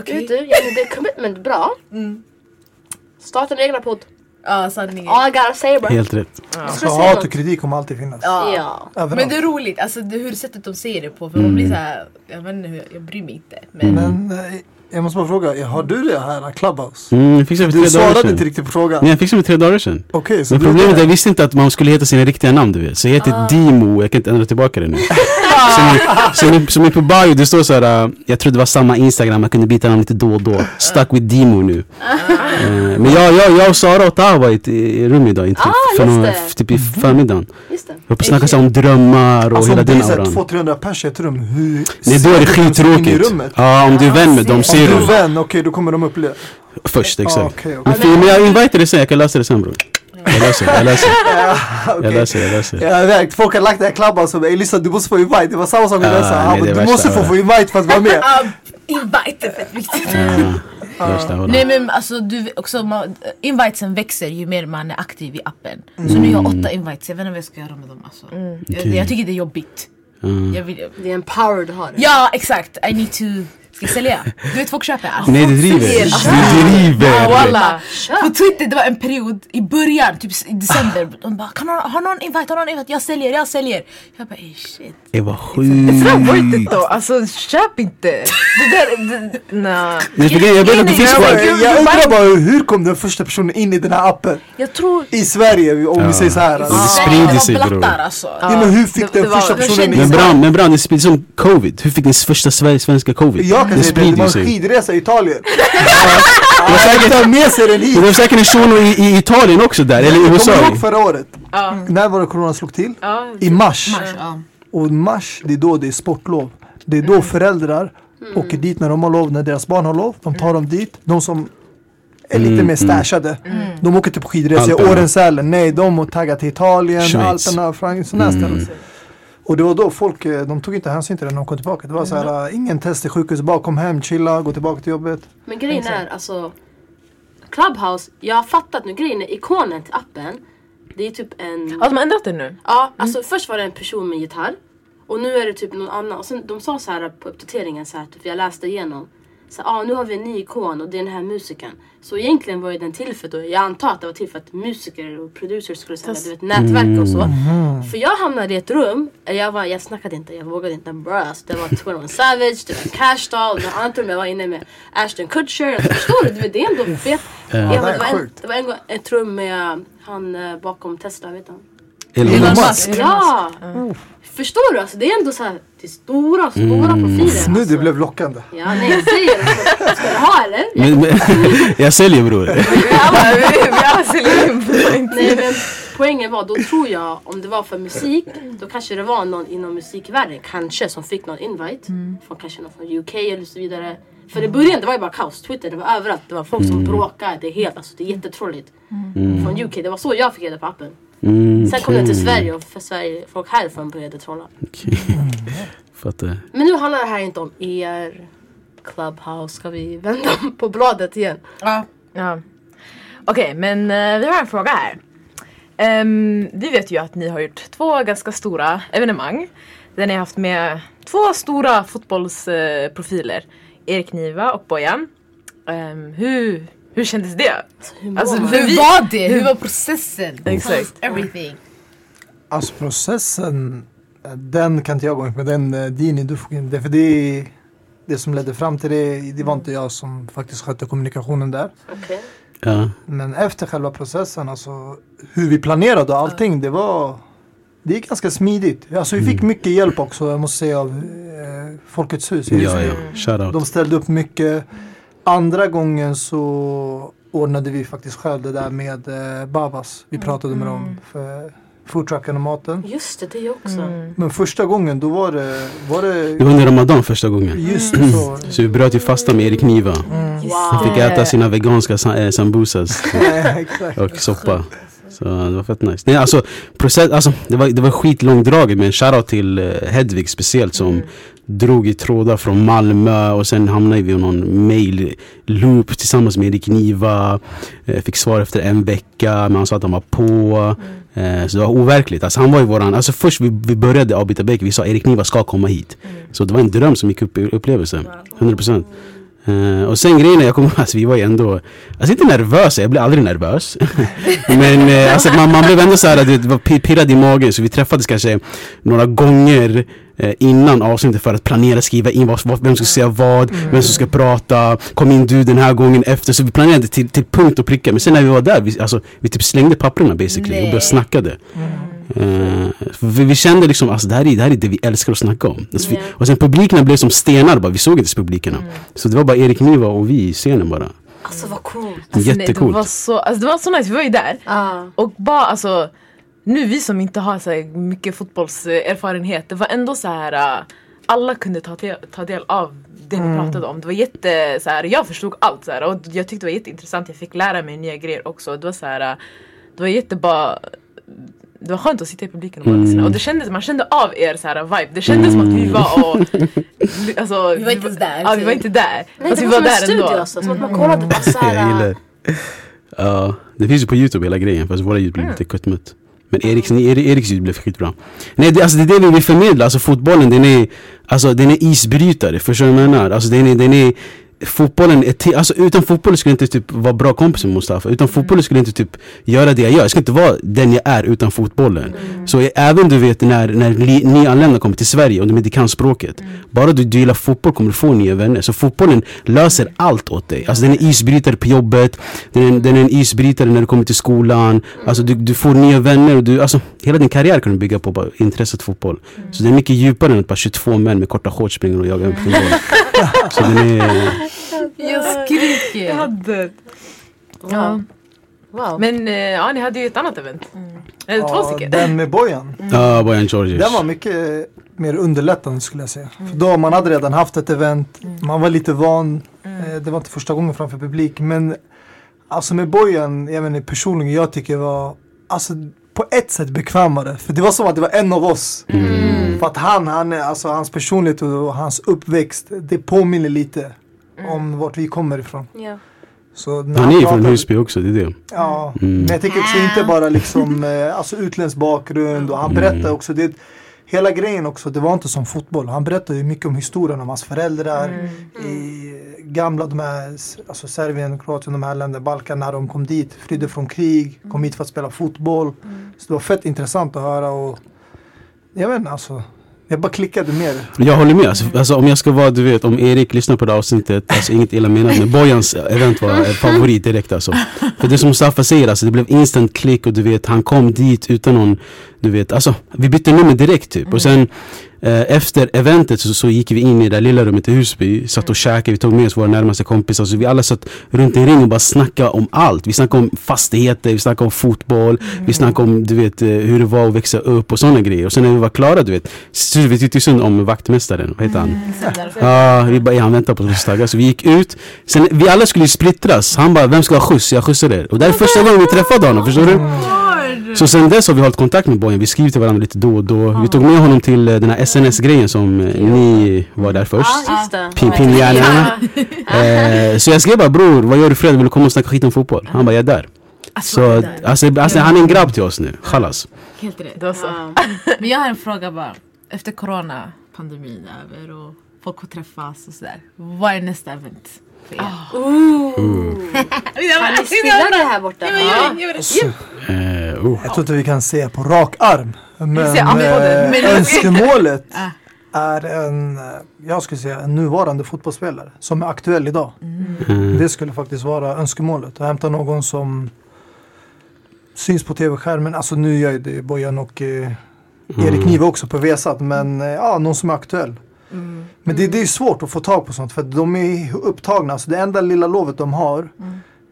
C: okej.
A: Vet du, jag gjorde commitment bra. Starta din egna podd.
C: Ja sanningen.
A: All I gotta say bro.
F: Helt rätt.
A: Jag
E: Så
A: skulle säga
E: hat och
A: något.
E: kritik Alltså, kommer alltid finnas.
A: Ja.
E: Överallt.
C: Men det är roligt,
F: Mm.
C: alltså det, hur sättet de säger det på. För man blir såhär, jag vet inte, hur- jag bryr mig inte. Men
E: Men eh, Jag måste bara fråga, har du det här Clubhouse?
F: Mm, jag fick det
E: Du
F: för tre dagar
E: svarade
F: sedan.
E: inte riktigt på frågan.
F: Nej,
E: Okej,
F: jag fick det för tre dagar sedan.
E: så
F: Men
E: du är
F: problemet är,
E: där.
F: jag visste inte att man skulle heta sina riktiga namn du vet. Så jag heter
A: Ah.
F: Dimo, jag kan inte ändra tillbaka det nu. Som, som, som är på bio, det står såhär, jag trodde det var samma Instagram, man kunde byta namn lite då och då. Stuck with Dimo nu.
A: Ah.
F: Eh, Men jag, jag, jag och Sara och Taha var i ett i rum idag, inte
A: Ah,
F: för
A: just
F: några,
A: det.
F: typ i förmiddagen.
A: Just det.
F: Vi höll på att snacka så här om drömmar och
E: Alltså
F: hela
E: om det är
F: den
E: såhär
F: auran.
E: 200-300 pers i ett rum, hur
F: Nej
E: ser
F: då är
E: du
F: det
E: vem som är inne i
F: skittråkigt.
E: rummet?
F: Ja, om du är vän med dem
E: Om
F: ser
E: du
F: du
E: är vän, okej då kommer de uppleva.
F: först
E: Ah,
F: exakt.
E: okej, okej.
F: Men fi- men jag inviterar dig sen, jag kan lösa det sen bror. Jag löser det, jag löser det, jag
E: Okej.
F: löser det. Jag löser det.
E: Jag vet, folk har lagt det här Clubhouse och bara "Ey, lyssna du måste få invite. Det var samma sak med
F: Ah,
E: den så här,
F: nej,
E: han bara,
F: det är
E: Du
F: värsta
E: måste få
F: av
E: få invite för att vara med.
C: Ah, Invite är fett
F: Mm.
C: viktigt.
F: Ja, värsta auran.
C: Nej men alltså du, också, man, invitesen växer ju mer man är aktiv i appen. Så nu har jag åtta invites, jag vet inte vad jag ska göra med dem alltså. Jag,
F: Mm. Okej.
C: jag tycker det är jobbigt.
F: Mm.
C: Jag vill,
A: Det är en power du har.
C: ja exakt, I need to, ska jag sälja? Du vet folk köper allt.
F: Nej, det driver.
C: Alltså,
F: Det
C: Ja,
F: driver.
C: walla. På Twitter det var en period i början, typ i december. De bara, kan någon, har någon invite, har någon invite, jag säljer, jag säljer. Jag bara, ey shit.
F: Det var
D: It's not
F: sjukt.
C: Mm.
D: worth it though, alltså köp inte! Det där, det, nej.
F: Men för grejen, jag vet att det finns
E: Jag,
F: folk.
E: bara, jag undrar bara hur kom den första personen in i den här appen?
D: Jag tror...
E: I Sverige om vi säger så här. Alltså.
F: det
C: Nej,
F: sprider
C: var
F: sig, bror.
C: blattar, alltså.
E: Ja, men hur fick
D: Det-
E: den
D: det var-
E: första
D: det
E: personen
D: kändes
E: in?
F: Men bra, men bra, det sprids som covid. Hur fick den första Sverige- svenska covid?
E: Jag kan
F: det
E: säga det, det
F: sprider
E: var
F: ju
E: en
F: sig.
E: skidresa i Italien. Jag säkert ta med sig den hit.
F: Det var säkert en shuno i, i Italien också där, eller i USA.
E: Kommer du ihåg förra året? När var det corona slog till?
D: Ja.
E: I mars.
C: Ja.
E: Och mars, det är då det är sportlov. Det är då föräldrar åker dit när de har lov, när deras barn har lov. De tar dem dit. De som är lite mer stashade. De åker typ skidresor i
F: Mm, Alperna.
E: Årensälen. Nej, de har taggat till Italien,
F: Schweiz. Mm.
E: Alperna, Frankrike, sådana här ställen. Och det var då folk, eh, de tog inte hänsyn till det när de kom tillbaka. Det var så här, eh, ingen test i sjukhus, bara kom hem, chilla, gå tillbaka till jobbet.
A: Men grejen är alltså Clubhouse, jag har fattat nu grejen är ikonen till appen. Det är typ en...
D: Har de ändrat det nu?
A: Ja, alltså först var det en person med gitarr och nu är det typ någon annan. Och sen de sa så här på uppdateringen så här, typ jag läste igenom. Så ja, ah, nu har vi en ny ikon och det är den här musikern. Så egentligen var ju den till för då, jag antar att det var till för att musiker och producers skulle sälja, du vet nätverk och så.
E: Mm.
A: För jag hamnade i ett rum, eh, jag, var, jag snackade inte, jag vågade inte. Bro, alltså, det var 21 Savage, det var Cash Doll, det var annat rum jag var inne med Ashton Kutcher. Alltså, förstår du? Du vet, Det är ändå fett. Jag var, det
E: det är
A: var, en,
E: sjukt.
A: det var en gång ett rum med eh, han eh, bakom Tesla, vet han?
F: Elon
E: Elon
F: Musk.
E: Musk.
A: Ja! Förstår du? Alltså, det är ändå så här, det är stora, stora profiler. Alltså.
E: Nu det blev lockande.
A: Ja, nej, jag säger det. Ska du ha eller?
F: Men, men, jag säljer bror.
D: Ja, vi, vi har Celine.
A: Nej, men poängen var, då tror jag, om det var för musik, då kanske det var någon inom musikvärlden, kanske, som fick någon invite. Från kanske någon från UK eller så vidare. För i början, det var ju bara kaos. Twitter, det var överallt. Det var folk som bråkade. Det är helt, alltså det är jättetråkigt. Från UK, det var så jag fick reda på appen.
F: Mm,
A: Sen kom den till Sverige och för Sverige, folk härifrån började trolla.
F: okej. Fattar.
A: Men nu handlar det här inte om er Clubhouse. Ska vi vända om på bladet igen?
C: Ja.
D: Ja. Okej, men eh, vi har en fråga här. Ehm, vi vet ju att ni har gjort två ganska stora evenemang. Där ni har haft med två stora fotbollsprofiler. Erik Niva och Bojan. Ehm, hur, hur kändes det?
A: Hur
D: Alltså,
A: mår man?
D: vi-
C: Hur var det? Hur var processen?
D: Exakt.
C: Everything.
E: Alltså processen, eh, den kan inte jag gå in på. Den eh, Dini, du får gå in det. För det, är- det som ledde fram till det, det var inte jag som faktiskt skötte kommunikationen där.
A: Okej.
F: Ja.
E: Men efter själva processen, alltså hur vi planerade och allting, det var det är ganska smidigt. Alltså vi fick mycket hjälp också, jag måste säga, av eh, Folkets hus. i
F: Ja,
E: Husby.
F: ja. Shoutout.
E: De ställde upp mycket. Andra gången så ordnade vi faktiskt själv det där med eh, Babas.
D: Mm.
E: Vi pratade med dem för foodtrucken och maten.
A: Just det, det också.
E: Men första gången då var det, var
F: Det
E: det
F: var under Ramadan första gången.
E: just så. Mm.
F: Så vi bröt ju fasta med Erik Niva.
A: Wow.
F: Han fick äta sina veganska sa- eh, sambusas.
E: Eh, Exakt.
F: och soppa. Så det var fett nice. Nej, alltså, process, alltså, det, var, det var skitlångdraget men shoutout till eh, Hedvig speciellt som drog i trådar från Malmö och sen hamnade vi i någon mail-loop tillsammans med Erik Niva. Eh, fick svar efter en vecka men han sa att han var på. Eh, så det var overkligt. Alltså, han var ju våran, alltså, först vi, vi började avbyta bäck, vi sa Erik Niva ska komma hit. Så det var en dröm som gick upp i upplevelsen. 100 procent. Eh, och sen grejen är, jag kommer ihåg, alltså, vi var ju ändå, alltså inte nervösa, jag blev aldrig nervös. Men eh, alltså, man, man blev ändå så här, du vet, det var pi- pirrad i magen så vi träffades kanske några gånger. eh, eh, innan avsnittet för att planera, skriva in vad, vad, vem som ska säga vad, vem som ska prata. Kom in du den här gången efter. Så vi planerade till, till punkt och pricka. Men sen när vi var där, vi, alltså, vi typ slängde papperna basically och började
C: Nej.
F: snackade. Eh, för vi, vi kände liksom, alltså det här, är, det här är det vi älskar att snacka om. Alltså, vi,
A: Ja.
F: och sen publikerna blev som stenar bara, vi såg inte ens publikerna. Så det var bara Erik Niva och vi i scenen bara.
A: Alltså vad coolt.
D: Alltså, nej,
F: Jättecoolt.
D: Det var, så, alltså, det var så nice, vi var ju där.
A: Ah.
D: Och bara alltså, nu vi som inte har så här, mycket fotbollserfarenhet, det var ändå så här, äh, alla kunde ta, te- ta del av det vi pratade om. Det var jätte, så här, jag förstod allt så här, och jag tyckte det var jätteintressant, jag fick lära mig nya grejer också. Det var så här, äh, det var jättebra det var skönt att sitta i publiken och bara lyssna. Och det kändes, man kände av er så här äh, vibe. Det kändes som att vi var och... Alltså,
C: Vi var inte ens där,
D: Ja, vi
C: typ.
D: var inte där.
A: Nej,
D: Fast
A: det
D: vi
A: var
D: var
A: som en
D: där
A: studio
D: ändå.
A: alltså. Som att man kollade på
F: Jag
A: såhär...
F: gillar Ja, det finns ju på Youtube hela grejen fast våra ljud blev lite kuttmutt. Men Eriks, Eri- Eriks ljud blev skitbra. Nej, det, alltså det är det vi vill förmedla. Alltså fotbollen den är, alltså, den är isbrytare, förstår du vad jag menar? Alltså den är, den är Fotbollen är till, alltså utan fotboll skulle jag inte typ vara bra kompis med Mustafa Utan fotbollen skulle jag inte typ göra det jag gör Jag skulle inte vara den jag är utan fotbollen Så jag- även du vet när, när li- nyanlända kommer till Sverige och de inte kan språket Bara du, du gillar fotboll kommer du få nya vänner Så fotbollen löser allt åt dig Alltså den är isbrytare på jobbet Den är, den är en isbrytare när du kommer till skolan Alltså du, du får nya vänner och du, alltså Hela din karriär kan du bygga på bara intresset fotboll Så den är mycket djupare än att bara 22 män med korta shorts springer och jagar en fotboll Så den är
C: Jag skriker.
D: Ja.
A: Wow.
D: Men eh, ja, ni hade ju ett annat event.
A: Mm.
D: Eller två
E: Ja,
D: stycken.
E: den med bojan.
F: Ja, Bojan Georgic.
E: Den var mycket mer underlättande skulle jag säga. För då man hade redan haft ett event, man var lite van. Eh, Det var inte första gången framför publik. Men alltså med bojan, jag vet inte, personligen, jag tycker var alltså, på ett sätt bekvämare. För det var som att det var en av oss.
F: Mm.
E: För att han, han, är- alltså, hans personlighet och hans uppväxt, det påminner lite om vart vi kommer ifrån.
A: Ja.
E: Så när
F: Han är ju från
E: pratade-
F: Husby också, det är det.
E: Ja, men jag tänker också inte bara liksom eh, alltså utländsk bakgrund och han berättar också det. Hela grejen också, det var inte som fotboll. Han berättar ju mycket om historien om hans föräldrar i gamla de här, alltså Serbien, Kroatien, de här länderna, Balkan när de kom dit, flydde från krig, kom hit för att spela fotboll. Så det var fett intressant att höra och jag vet inte alltså. Jag bara klickade mer.
F: Jag håller med. Alltså, alltså, om jag ska vara, du vet, om Erik lyssnar på det här avsnittet, alltså inget illa menat, men Bojans event var en favorit direkt alltså. För det som Mustafa säger, alltså, det blev instant klick och du vet, han kom dit utan någon, du vet, alltså vi bytte nummer direkt typ. Och sen eh, efter eventet så, så gick vi in i det där lilla rummet i Husby, satt och käkade, vi tog med oss våra närmaste kompisar, så vi alla satt runt en ring och bara snackade om allt. Vi snackade om fastigheter, vi snackade om fotboll, vi snackade om du vet, eh, hur det var att växa upp och sådana grejer. Och sen när vi var klara, du vet, så vi tyckte synd om vaktmästaren, vad heter han? Ja, vi bara, ja, han väntar på oss tagga. Så vi gick ut. Sen, vi alla skulle ju splittras. Han bara, vem ska ha skjuts? Jag skjutsar er. Och det här är första gången vi träffade honom, förstår du? Så sen dess har vi hållit kontakt med Bojan. Vi skriver till varandra lite då och då. Vi tog med honom till eh, den här SNS-grejen som eh, ni var där först.
A: Ja, just det.
F: Pin- Pinjärnorna. Eh, så jag skrev bara, bror, vad gör du fredag? Vill du komma och snacka skit om fotboll? Han bara, jag är där. Så alltså, alltså, han är en grabb till oss nu, chalas.
C: Helt rätt.
D: Det var så.
A: Wow.
C: Men jag har en fråga bara. Efter coronapandemin är över och folk får träffas och sådär. Vad är nästa event för er?
A: Kan ni spilla det här borta? Ja.
F: Eh, oh.
E: Jag tror inte vi kan säga på rak arm. Men
D: ser an på det,
E: eh,
D: men-
E: önskemålet är en, eh, jag skulle säga en nuvarande fotbollsspelare som är aktuell idag. Det skulle faktiskt vara önskemålet. Att hämta någon som syns på tv-skärmen. Alltså nu gör ju det Bojan och eh, Erik Niva också på Vesat. Men eh, ja, någon som är aktuell. Men det, det är svårt att få tag på sånt för att de är upptagna. Alltså det enda lilla lovet de har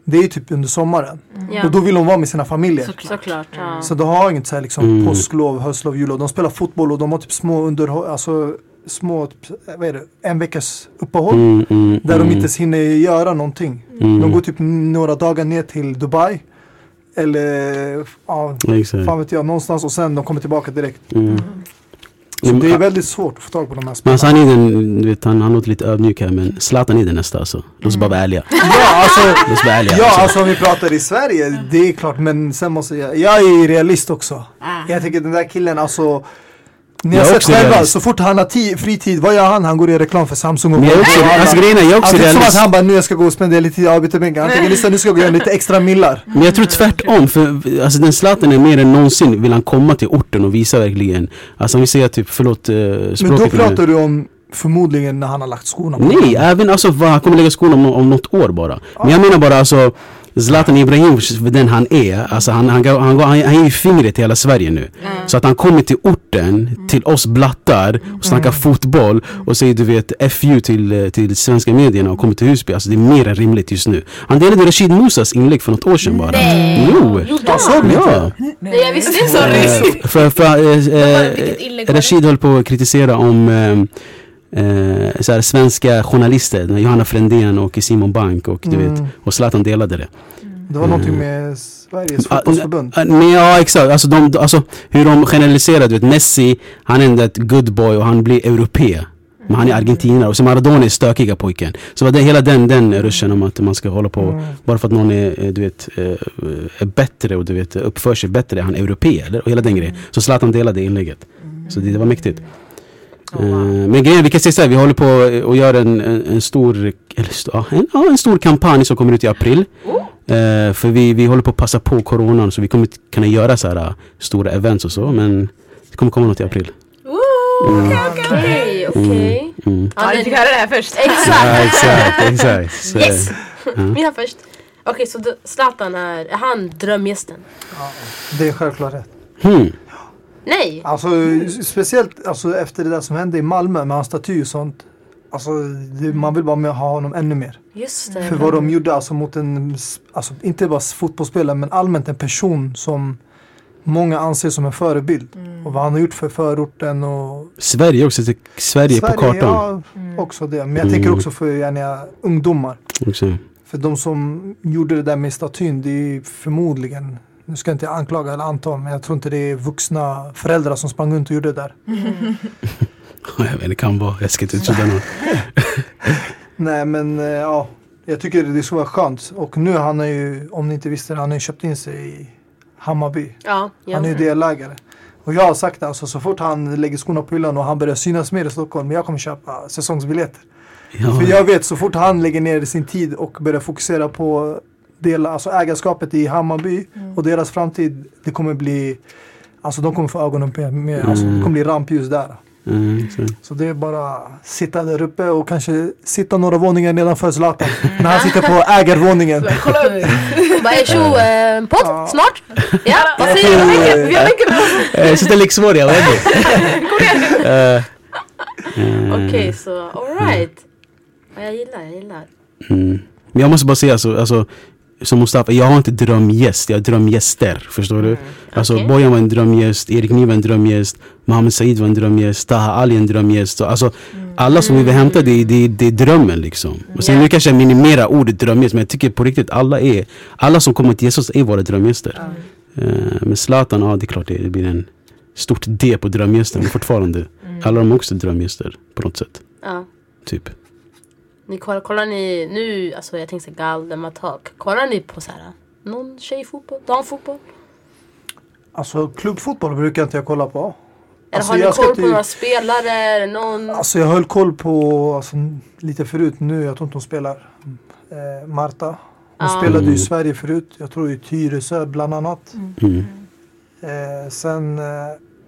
E: det är ju typ under sommaren.
A: Ja.
E: Och då vill de vara med sina familjer.
A: Såklart. Ja.
E: Så de har inget så här liksom
F: Mm.
E: påsklov, höstlov, jullov. De spelar fotboll och de har typ små underhåll, alltså små, typ, vad är det, en veckas uppehåll.
F: Mm, mm,
E: Där de
F: mm.
E: inte ens hinner göra någonting. De går typ några dagar ner till Dubai. Eller, ja,
F: Exakt.
E: fan vet jag, någonstans och sen de kommer tillbaka direkt.
F: Mm.
E: Så
F: Men-
E: det är väldigt svårt att få tag på de här
F: Men
E: spelarna.
F: alltså han är den, du vet han, han låter lite ödmjuk här men Zlatan är den nästa alltså. Låt oss bara vara ärliga.
E: Ja, alltså,
F: Låt oss vara ärliga.
E: ja, alltså om vi pratar i Sverige, det är klart. Men sen måste jag, jag är realist också.
C: Ah.
E: Jag tycker den där killen alltså Ni har
F: Jag är
E: sett
F: också
E: själva,
F: realist.
E: så fort han har ti- fritid, vad gör han? Han går i reklam för Samsung och
F: Men jag är också,
E: Volvo.
F: alltså grejen är, jag är också
E: Alltså, det är som att
F: realist.
E: han bara, nu jag ska gå och spendera lite tid, arbeta mycket. Han tänker, lyssna nu ska jag gå och göra lite extra millar.
F: Men jag tror tvärtom, för alltså, den Zlatan är mer än någonsin vill han komma till orten och visa verkligen. Alltså om vi säger typ, förlåt eh, språket.
E: Men då pratar du om förmodligen när han har lagt skorna på.
F: Nej, även alltså vad, han kommer lägga skon om, om något år bara. Men jag menar bara alltså Zlatan Ibrahimovic, för den han är, alltså han, han, gav- han, gav- han, han ger ju fingret till hela Sverige nu. Så att han kommer till orten, till oss blattar och snackar fotboll och säger du vet FU till, eh, till svenska medierna och kommer till Husby. Alltså det är mer än rimligt just nu. Han delade Rashid Musas inlägg för något år sedan bara.
A: Nej.
F: Jo!
A: Jo, då.
E: Såg ni inte?
F: Ja.
A: Nej, jag visste inte.
F: Eh, för, för, eh, eh,
C: Vilket inlägg var det?
F: Rashid höll på att kritisera om eh, eh, så här, svenska journalister, den här Johanna Frändén och Simon Bank och du
E: Mm.
F: vet, och Zlatan delade det.
E: Det var någonting med Sveriges
F: Mm. Ah,
E: fotbollsförbund.
F: Ah, Men ja exakt, alltså, de, alltså hur de generaliserar, du vet Messi, han är ändå ett good boy och han blir europé. Men han är
C: Mm.
F: argentinare och så Maradona är stökiga pojken. Så det, hela den, den ruschen om att man ska hålla på
E: Mm.
F: bara för att någon är, eh, du vet, eh, är bättre och du vet, uppför sig bättre, är han europé eller? Och hela den grejen. Så Zlatan delade inlägget. Så det, det var mäktigt.
C: Oh, wow.
F: Eh, Men grejen, vi kan säga så här, vi håller på eh, och gör en, en, en stor, eller, st- ja, en, ja, en stor kampanj som kommer ut i april. Eh, för vi, vi håller på att passa på coronan så vi kommer inte kunna göra så här eh, stora events och så men det kommer komma något i april.
A: Okej, okej.
F: Mm.
A: Ja,
D: Ja,
A: men-
D: ni fick höra det här först.
A: Exakt.
F: Ja, Mm. exakt, exakt. Så, eh,
A: Yes!
F: Ja.
A: Mina först. Okej, så då- Zlatan är, är han drömgästen?
E: Det är självklart rätt.
F: hmm.
A: Nej!
E: Alltså speciellt alltså, efter det där som hände i Malmö med hans staty och sånt. Alltså det, man vill bara med, ha honom ännu mer.
A: Just det.
E: För vad de gjorde alltså mot en, s- alltså inte bara s- fotbollsspelare men allmänt en person som många anser som en förebild. Och vad han har gjort för förorten och
F: Sverige också, till- Sverige, på kartan.
E: ja, också det. Men jag tänker
F: Mm.
E: också för gärna ungdomar.
F: Också.
E: För de som gjorde det där med statyn, det är ju förmodligen, nu ska jag inte anklaga eller anta, men jag tror inte det är vuxna föräldrar som sprang runt och gjorde det där.
F: Jag vet inte, det kan vara, jag ska inte utesluta någon.
E: Nej men eh, ja, jag tycker det skulle vara skönt. Och nu han är ju, om ni inte visste det, han har ju köpt in sig i Hammarby.
A: Ja, ja.
E: Han är ju delägare. Och jag har sagt det, alltså, så fort han lägger skorna på hyllan och han börjar synas mer i Stockholm, jag kommer köpa säsongsbiljetter. För
F: Ja,
E: jag vet, så fort han lägger ner sin tid och börjar fokusera på del, alltså ägarskapet i Hammarby och deras framtid, det kommer bli, alltså de kommer få ögonen på mer, alltså, det kommer bli rampljus där.
F: mm, exakt.
E: Så det är bara att sitta där uppe och kanske sitta några våningar nedanför Zlatan. När han sitter på ägarvåningen.
D: Kolla upp.
A: Bara är tjo, eh, podd
E: Ja.
A: snart. Ja, vad
D: Vi
A: säger
D: har
A: du?
D: mycket- vi har mycket
F: Eh, Så det Eh, är liksom jag vet inte.
E: Mm.
A: Okej, så alright. Ja, jag gillar, jag gillar.
F: Mm. Men jag måste bara säga, alltså, alltså, som Mustafa, jag har inte drömgäst, jag har drömgäster. Förstår du? Alltså
A: Mm, Okej.
F: Bojan var en drömgäst, Erik Niva var en drömgäst, Mohammed Said var en drömgäst, Taha Ali en drömgäst. Så, alltså, alla som vi vill hämta, det, det, det är drömmen liksom. Och sen
A: Mm. Ja.
F: nu kanske jag minimerar ordet drömgäst, men jag tycker på riktigt alla är, alla som kommer till Jesus är våra drömgäster. Eh, men Zlatan, ja det är klart det, det blir en stort D på drömgäster, men fortfarande,
A: Mm.
F: alla de är också drömgäster på något sätt.
A: Ja.
F: Typ.
A: Ni kollar, kollar ni nu, alltså jag tänkte Galdemar Tak. Kollar ni på så här, någon tjejfotboll, damfotboll?
E: Alltså klubbfotboll brukar inte jag kolla på.
A: Eller
E: Alltså,
A: har ni
E: jag ska
A: koll på
E: inte-
A: några spelare? eller Någon...
E: Alltså jag höll koll på, alltså, lite förut nu, jag tror inte hon spelar, eh, Marta. Hon
A: Ja.
E: spelade ju i
F: Mm.
E: Sverige förut, jag tror i Tyresö bland annat.
F: Mm.
A: Mm.
E: Eh, sen eh,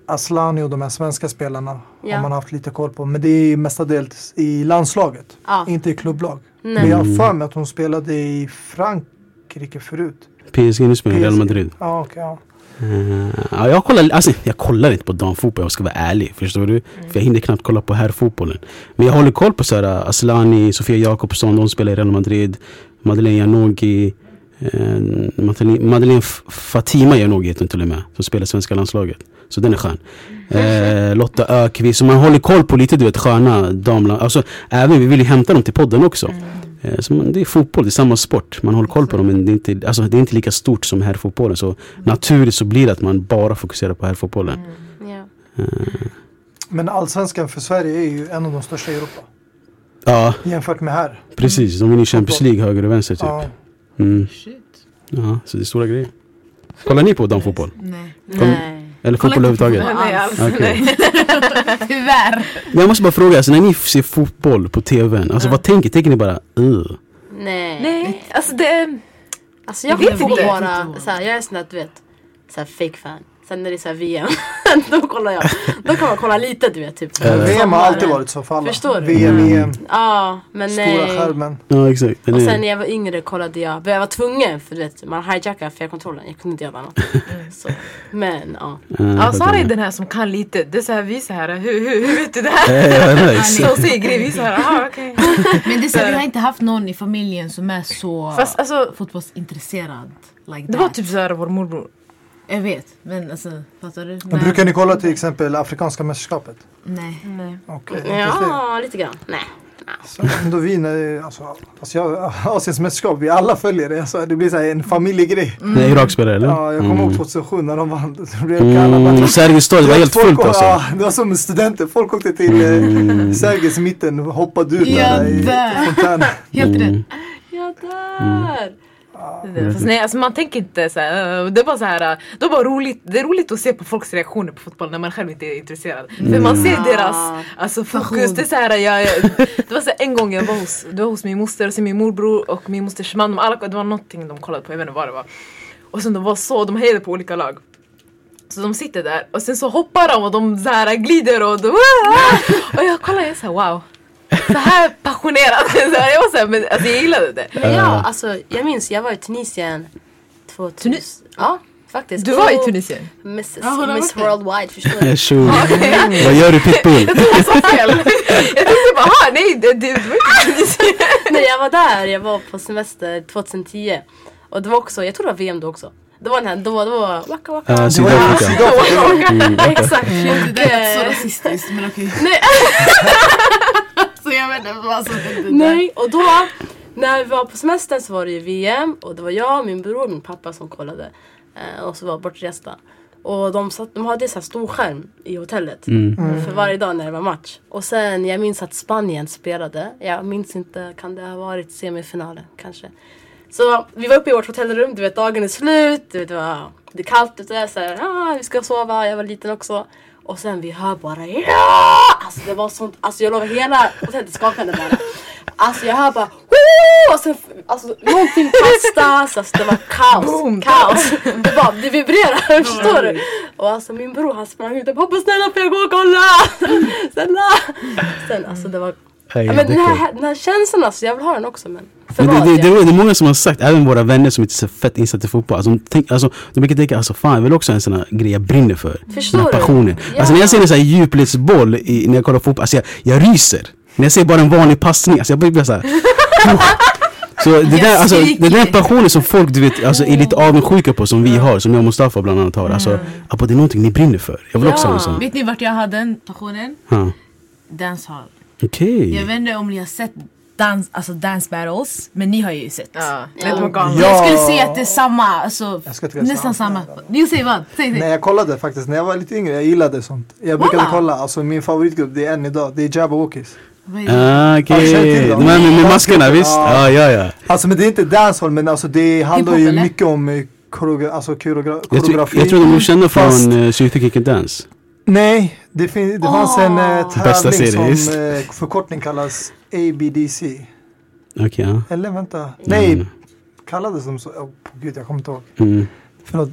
E: Aslani och de här svenska spelarna
A: Ja.
E: har man haft lite koll på. Men det är mestadels i landslaget,
A: Ja.
E: inte i klubblag. Men
A: Nej.
E: jag
F: Mm.
E: har för mig att hon spelade i Frankrike förut.
F: PSG nu spelar Real
E: PSG.
F: Madrid.
E: Ja, okej. ja.
F: Eh, ja, jag, kollar, alltså, jag kollar inte på damfotboll, jag ska vara ärlig. Förstår du? För jag hinner knappt kolla på herrfotbollen. Men jag håller koll på så här, eh, Aslani, Sofia Jakobsson, de spelar i Real Madrid. Madeleine Janogy, eh, Madeleine, Madeleine F- Fatima Janogy heter hon till och med, som spelar i svenska landslaget. Så den är skön. Eh, Lotta Ökvist, så man håller koll på lite du vet sköna damlag. Alltså, även vi vill ju hämta dem till podden också. Eh, Så man, det är fotboll, det är samma sport. Man håller koll på dem men det är inte, alltså, det är inte lika stort som herrfotbollen. Så naturligt så blir det att man bara fokuserar på herrfotbollen.
A: Ja.
E: Men allsvenskan för Sverige är ju en av de största i Europa.
F: Ja,
E: Jämfört med här.
F: precis. De vinner ju Champions League höger och vänster typ.
E: Ja.
F: Mm.
C: Shit.
F: Ja, så det är stora grejer. Kollar ni på damfotboll?
C: Nej.
A: Nej.
F: Eller fotboll
C: Kolla inte på
F: överhuvudtaget?
C: fotboll.
D: Nej, alls,
F: Okej.
D: nej.
C: Tyvärr.
F: Men jag måste bara fråga, alltså, när ni ser fotboll på tvn, alltså, vad tänker, tänker ni bara uh,
A: Nej.
D: nej, alltså det...
A: Alltså jag
D: Jag
A: kollar
D: vet
A: på
D: inte.
A: bara, såhär, jag är sån där du vet, såhär fake fan. Sen när det är såhär VM, då kollar jag. Då kan man kolla lite du vet typ.
F: Eh.
E: VM har alltid
A: Sommaren.
E: varit så för alla.
A: Förstår du?
E: VM, EM,
F: Mm.
A: Ja, men
E: stora
A: nej.
E: skärmen.
F: Ja exakt. Den
A: Och
F: är-
A: sen när jag var yngre kollade jag, för jag var tvungen för du vet man hijackade fjärrkontrollen, jag kunde inte göra annat. Så. Men ja.
F: eh,
D: Ja, Sara är
F: jag
D: den här som kan lite. Det är så här, vi är så här, hur, hur, hur vet du det här?
F: fattar. Eh, ja, nice.
D: Så säger grejer, vi är så här, aha okej.
C: Men det är så, här, vi har inte haft någon i familjen som är så
D: Fast alltså,
C: fotbollsintresserad. Like
D: det var
C: that.
D: typ så här vår morbror.
C: Jag vet, men alltså fattar du?
E: Men brukar ni kolla till exempel Afrikanska mästerskapet?
C: Nej.
D: Nej.
E: Okej, intressant.
A: Ja, lite grann. Nej. nej.
E: Så ändå vi när, alltså, alltså jag, Asiens mästerskap, vi alla följer det. Alltså, det blir så här en familjegrej.
F: Nej, Irak spelar eller?
E: Ja, jag kommer ihåg 2007 när de vann. Då blev det alla bara-
F: Mm, Sergels torg, det var helt
E: Folk
F: fullt
E: å-
F: alltså. Mm.
E: Ja, det var som studenter. Folk åkte till eh, Sergels mitten och hoppade ut
C: Ja,
E: där i
C: där.
E: fontänen.
C: Helt
E: Mm.
C: rätt.
A: Jag dör!
D: Fast nej, alltså man tänker inte så här. eh, Det är bara så här, eh, det är bara roligt. Det är roligt att se på folks reaktioner på fotboll när man själv inte är intresserad. För man ser deras alltså, fokus. Det är så här, jag, jag, det var så här, en gång jag var hos, det var hos min moster och sen min morbror och min mosters man. De alla, det var någonting de kollade på, jag vet inte vad det var. Och sen de var så, de hejade på olika lag. Så de sitter där och sen så hoppar de och de så här glider och de, Och jag kollar och jag är så här, wow. Så här passionerat. Så här, jag var så här, men alltså, jag gillade det.
A: Men ja,
E: Eh.
A: alltså jag minns jag var i Tunisien 2000.
D: Tunis-
A: Ja, faktiskt.
D: Du var i
A: Och
D: Tunisien.
A: Miss,
C: Ja, hon har
A: Miss
C: varit där.
A: Worldwide, förstår du?
F: Tjo. Eh, Vad gör du pitbull?
D: Jag sa fel. Jag tänkte bara, aha, nej det, det var typ inte Tunisien.
A: Nej jag var där, jag var på semester 2010 Och det var också, jag tror det var VM då också Det var den här, då, då var Waka Waka
F: Eh, Sydafrika. Mm, okej.
A: Exakt!
C: Det där lät så
A: Eh,
C: rasistiskt men okej.
A: Nej.
C: så jag vet inte vad som hände där.
A: Nej, och då när vi var på semestern så var det ju VM och det var jag, min bror och min pappa som kollade. Eh, och så var bortresta. Och de, satt, de hade så här stor skärm i hotellet för varje dag när det var match. Och sen jag minns att Spanien spelade. Jag minns inte, kan det ha varit semifinalen kanske? Så vi var uppe i vårt hotellrum, du vet dagen är slut, du vet, det, var, det är kallt ute, så här, ah, vi ska sova, jag var liten också. Och sen vi hör bara ja! Alltså det var sånt, alltså jag lovar hela hotellet skakade bara. Alltså jag hör bara Woo! Och sen, alltså någonting kastas, alltså det var kaos.
D: Boom.
A: Kaos. Det bara, det
F: Mm.
A: vibrerar, förstår du? Och alltså min bror han sprang ut och pappa snälla får jag gå och kolla? Snälla! Sen alltså det var,
F: Nej,
A: ja,
F: det
A: men
F: är
A: den
F: kul.
A: här, den här känslan alltså, jag vill ha den också men.
F: Men det,
A: förvaras
F: det,
A: jag.
F: det, är- det är många som har sagt, även våra vänner som inte är så fett insatta i fotboll. Alltså, de, tänk, alltså, de brukar tänka, alltså, fan jag vill också ha en sån här grej jag brinner för.
A: Förstår
F: den här
A: du?
F: passionen.
A: Ja.
F: Alltså när jag ser en sån här djupledsboll i, när jag kollar fotboll, alltså jag, jag ryser. När jag ser bara en vanlig passning, alltså jag blir bara såhär. Så det där, alltså, det där
C: skriker.
F: passionen som folk du vet, alltså, är lite avundsjuka på som vi har, som jag och Mustafa bland annat har. Alltså, Abba, det är någonting ni brinner för. Jag vill också ha en
A: Ja.
F: sån.
C: Vet ni vart jag hade den passionen?
F: Ja.
C: Dancehall.
F: Okej.
C: Jag vet inte om ni har sett dans, alltså dance battles, men ni har ju sett.
D: Ja,
A: Ja.
D: det var galet.
E: Ja.
C: Jag skulle säga att det är samma, alltså,
E: Jag ska inte säga
C: nästan samma.
E: samma.
C: Jo säg vad, säg
E: Nej
C: det.
E: jag kollade faktiskt när jag var lite yngre, jag gillade sånt. Jag brukade
C: Walla.
E: kolla, alltså min favoritgrupp det är än idag, det är Jabba Walkies.
C: Vad är
E: Eh,
C: det?
F: Ah,
E: Ja,
F: Okej.
E: känner till
F: Okay.
E: dem.
F: Med, med maskerna visst?
E: Ja.
F: Ja, ja, ja.
E: Alltså men det är inte dancehall men alltså det handlar ju
C: eller?
E: mycket om eh, koreogra- alltså, koreogra-
F: Jag, tror-
E: koreografi.
F: jag tror de är kända
E: Fast-
F: från uh, Synthic Kick and Dance.
E: Nej, det, fin- det fanns en eh,
F: Bästa
E: tävling
F: serie, just.
E: som eh, förkortning kallas ABDC.
F: Okej, ja.
E: Eller vänta, nej, kallades de så? Åh, gud jag kommer inte ihåg.
F: Mm.
E: Förlåt.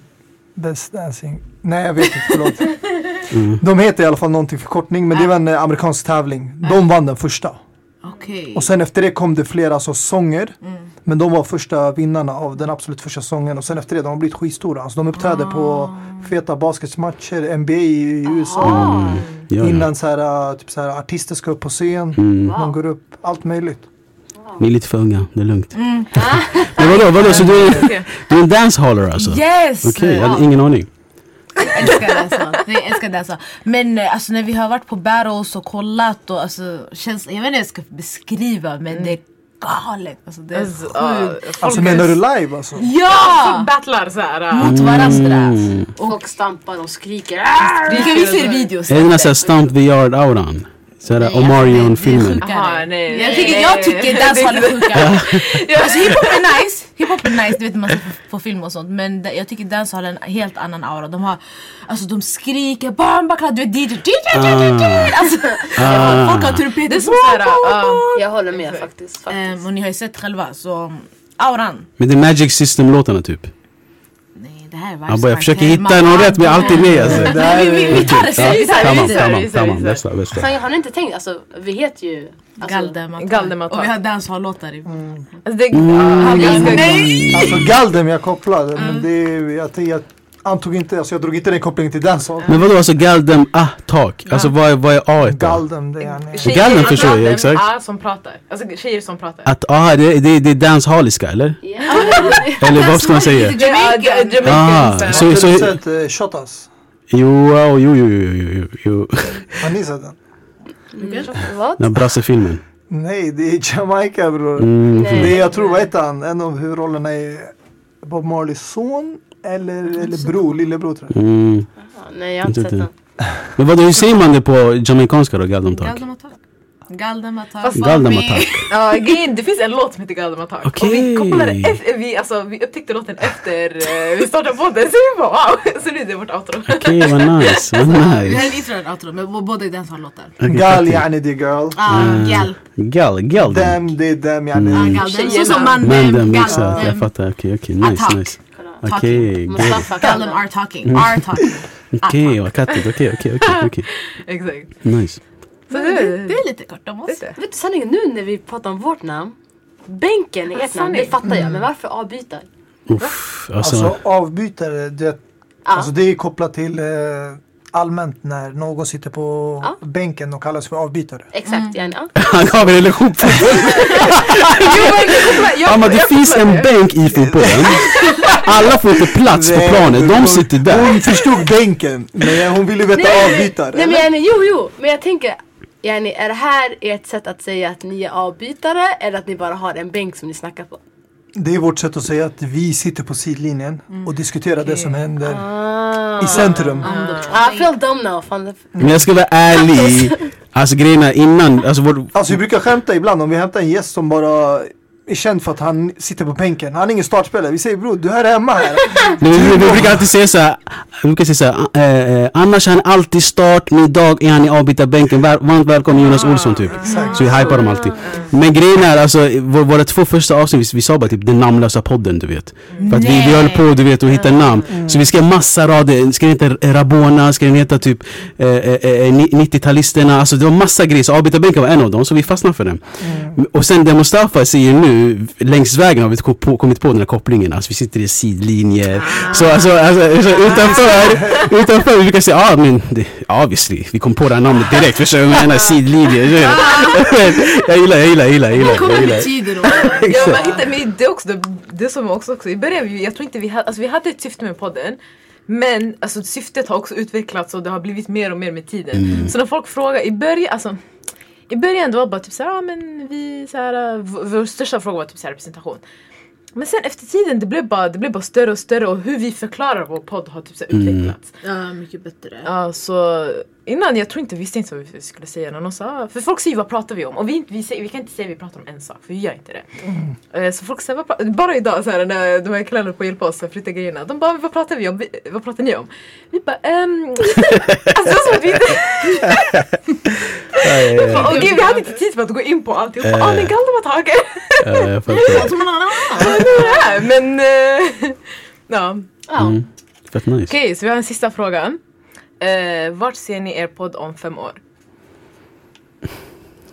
E: Best Dancing. Nej jag vet inte, förlåt.
F: Mm.
E: De heter i alla fall någonting förkortning men det var en eh, amerikansk tävling. De vann den första.
C: Okej.
E: Och sen efter det kom det flera alltså, sånger. Men de var första vinnarna av den absolut första sången. Och sen efter det de har blivit skitstora. Alltså, de uppträder på feta basketmatcher, NBA i USA.
F: Ah. Ja, ja.
E: Innan så här, äh, typ så här, artister ska upp på scen. De går upp, allt möjligt.
F: Ni är lite för unga, det är lugnt. Men vadå, vadå, så du är, du är en dancehaller alltså?
C: Yes!
F: Okej, jag
C: Ja.
F: hade ingen aning.
C: Jag älskar dansa. Nej, jag älskar dansa. Men eh, alltså, när vi har varit på battles och kollat och alltså, känns, jag vet inte hur jag ska beskriva men det är galet. Alltså, det är
D: Alltså,
C: sjukt.
D: ja,
E: Alltså
D: folk
E: menar du
D: är-
E: live alltså?
D: Folk
C: Ja!
D: battlar såhär.
C: Mot varandra.
E: Mm.
A: Folk stampar, de skriker. "Ah!"
C: Vi kan visa er videos.
F: Är det den här såhär stamp the yard auran? Såhär
C: Nej, alltså, det- det är
F: Omarion-filmen.
C: sjukt.
D: Aha, nej.
C: Jag tycker, jag tycker dancehall är sjukare. alltså hiphop är nice, hiphop är nice, du vet man ser på, på film och sånt. Men da- jag tycker dancehall har en helt annan aura. De har, alltså de skriker bambakla, du vet DJ, DJ, DJ, DJ. Alltså, folk har trumpeter.
D: Det är som såhär, ah,
A: Jag håller med faktiskt. faktiskt.
C: Ehm, och ni har ju sett själva, så um, auran.
F: Men det är Magic System-låtarna typ.
C: Nej, det här är
F: Jag, bara, jag
C: varje
F: försöker
C: snack.
F: hitta någon rätt men jag är alltid med alltså.
E: Det här
C: Vi, vi, vi tar det
F: Ja,
C: seriöst.
F: Tamam,
D: visa,
F: tamam,
D: visa,
F: tamam.
D: visa.
F: Bästa, bästa.
A: Sen, har ni inte tänkt, alltså vi heter ju... Alltså,
C: Galdemar.
D: Galdemar.
C: Och vi har dancehall-låtar i.
D: alltså det, ah,
F: Mm.
D: han ganska...
E: Alltså Galdem jag kopplade, men det är, jag, jag antog inte, alltså jag drog inte den kopplingen till dancehall.
F: Men vadå alltså Galdem ah tak? Alltså vad är, vad är A då?
E: Galdem, det är han.
D: Tjejer
F: Gallen
D: i
F: förstår jag,
D: branschen
F: exakt.
D: är som pratar. Alltså tjejer som pratar.
F: Att ah, det, det, det är danshaliska eller?
A: Ja.
F: Eller vad ska man säga?
D: Det är, ah, det är Jamaicans,
F: Ah,
D: eh,
F: så-
E: Har du
F: så-
E: sett eh, Shotas?
F: Jo, oh, jo, jo, jo, jo, jo, jo.
E: Har ni sett den?
A: Vad?
F: Den här brassefilmen.
E: Nej, det är Jamaica bror.
F: Mm.
A: Nej.
E: Det är, jag tror, vad heter han? En av huvudrollerna är Bob Marleys son eller, eller bror, lillebror tror jag.
F: Mm.
A: Ja, Nej jag har inte
F: Inte
A: sett den.
F: Men vadå, hur säger man det på jamaicanska då? Galdem tak?
C: Galdemar tak. Galdemar tak.
D: Fast-
F: Galdem tak.
D: Ja, grejen, det finns en låt som heter Galdemar Tak. Och
F: Okej.
D: vi, kopplade efter, vi, alltså, vi upptäckte låten efter eh, vi startade podden. Så vi bara wow! Så nu är det vårt outro.
F: Okej, vad nice, vad
C: Vi har
F: nice.
C: en intro och en outro, men b- båda är dancehall-låtar.
F: Okej, Mm.
E: Gal
F: tack.
E: yani the girl.
C: Ah, gal.
F: Gal, Galdem.
E: Dem, det är dem yani.
F: Mm,
C: Ah, gal. Den- Så
D: Tjejerna.
C: som man...
F: Men den
C: gal-
F: mixar, jag
C: ehm,
F: fattar. Okej, okej, nice,
C: Attack.
F: nice.
A: Kolla.
F: Okej, got it.
A: Mustafa
C: Galdem
A: Galdem.
C: are
F: Mm.
C: talking. Are talking.
F: okej, vad kattigt. Okej, okej, okej, okej.
D: Exakt.
F: Nice.
D: Så
C: Men det,
D: det,
C: det är lite kort om oss.
D: det.
A: Vet du sanningen nu när vi pratar om vårt namn. Bänken är ert namn, det
D: sanning.
A: fattar jag. Men varför avbyta?
F: Uff, alltså.
E: Alltså avbytare, det,
A: Ja.
E: alltså, det är kopplat till eh, allmänt när någon sitter på
A: Ja.
E: bänken och kallas för avbytare.
C: Mm.
A: Exakt, yani, ja.
F: Han gav en relation på
D: Jo, men jag kopplar- jag-
F: Ja men det
D: jag
F: finns
D: kopplar
F: en
D: det.
F: bänk i fotbollen. Alla får inte plats på
E: Nej,
F: planen, de
E: hon-
F: sitter där.
E: Hon förstod bänken, men hon ville veta
A: Nej, men-
E: avbytare.
A: Nej men yani, jo jo, men jag tänker yani, är det här ert sätt att säga att ni är avbytare eller att ni bara har en bänk som ni snackar på?
E: Det är vårt sätt att säga att vi sitter på sidlinjen och diskuterar det som händer
A: Mm. Ah,
E: i centrum.
C: Mm.
A: ah I feel dumb now. Fan.
F: Men jag ska vara ärlig. Alltså grejerna innan, alltså vår,
E: Alltså vi brukar skämta ibland om vi hämtar en gäst som bara är känd för att han sitter på bänken. Han är ingen startspelare. Vi säger bror, du här är hemma här.
F: vi, vi, vi brukar alltid säga såhär, vi brukar säga såhär, eh, eh, annars är han alltid start, men idag är han i avbytarbänken. Var, varmt välkommen Jonas Olsson typ. Så vi hypar dem alltid. Men grejen är alltså, vår, våra två första avsnitt, vi, vi sa bara typ den namnlösa podden du vet. För att vi, vi höll på du vet att hitta namn. Så vi skrev massa rader, ska den heta Rabona, ska den heta typ eh, eh, eh, ni- 90-talisterna, alltså det var massa grejer. Så avbytarbänken var en av dem, så vi fastnade för den. Och sen det Mustafa säger nu, längs vägen har vi ko- på, kommit på den här kopplingen, alltså vi sitter i sidlinjer. Så alltså, alltså alltså, utanför, utanför, vi brukar säga ja ah, men det, ja, obviously, vi kom på det här namnet direkt, förstår du vad jag menar? Sidlinjer. Jag gillar, jag gillar, jag gillar, jag gillar. Jag
C: Kommer
F: gillar.
C: med tider och...
D: Ja men inte, men det är också det, det som är också, också i början, vi- jag tror inte vi hade, alltså vi hade ett syfte med podden men alltså syftet har också utvecklats och det har blivit mer och mer med tiden. Så när folk frågar i början, alltså i början det var bara typ såhär, ah, men vi såhär, v- vår största fråga var typ såhär representation. Men sen efter tiden det blev bara, det blev bara större och större och hur vi förklarar vår podd har typ såhär utvecklats.
C: Ja, mycket bättre.
D: Ja så Alltså, innan jag tror inte vi visste inte vad vi skulle säga när någon sa, ah, för folk säger vad pratar vi om? Och vi, inte- vi, säger, vi kan inte säga vi pratar om en sak för vi gör inte det. Eh, Så folk säger, vad pratar, bara idag så här, när de här killarna på hjälpa oss att flytta grejerna, de bara vad pratar vi om? Vi, vad pratar ni om? Vi bara ehm, alltså det var som att vi inte, och gud, vi hade inte tid för att gå in på alltihop. Ja men Galdemataket,
F: Ja, jag fattar.
D: men eh, ja.
A: Ja.
F: Fett nice.
D: Okej så vi har en sista fråga. Eh, vart ser ni er podd om fem år?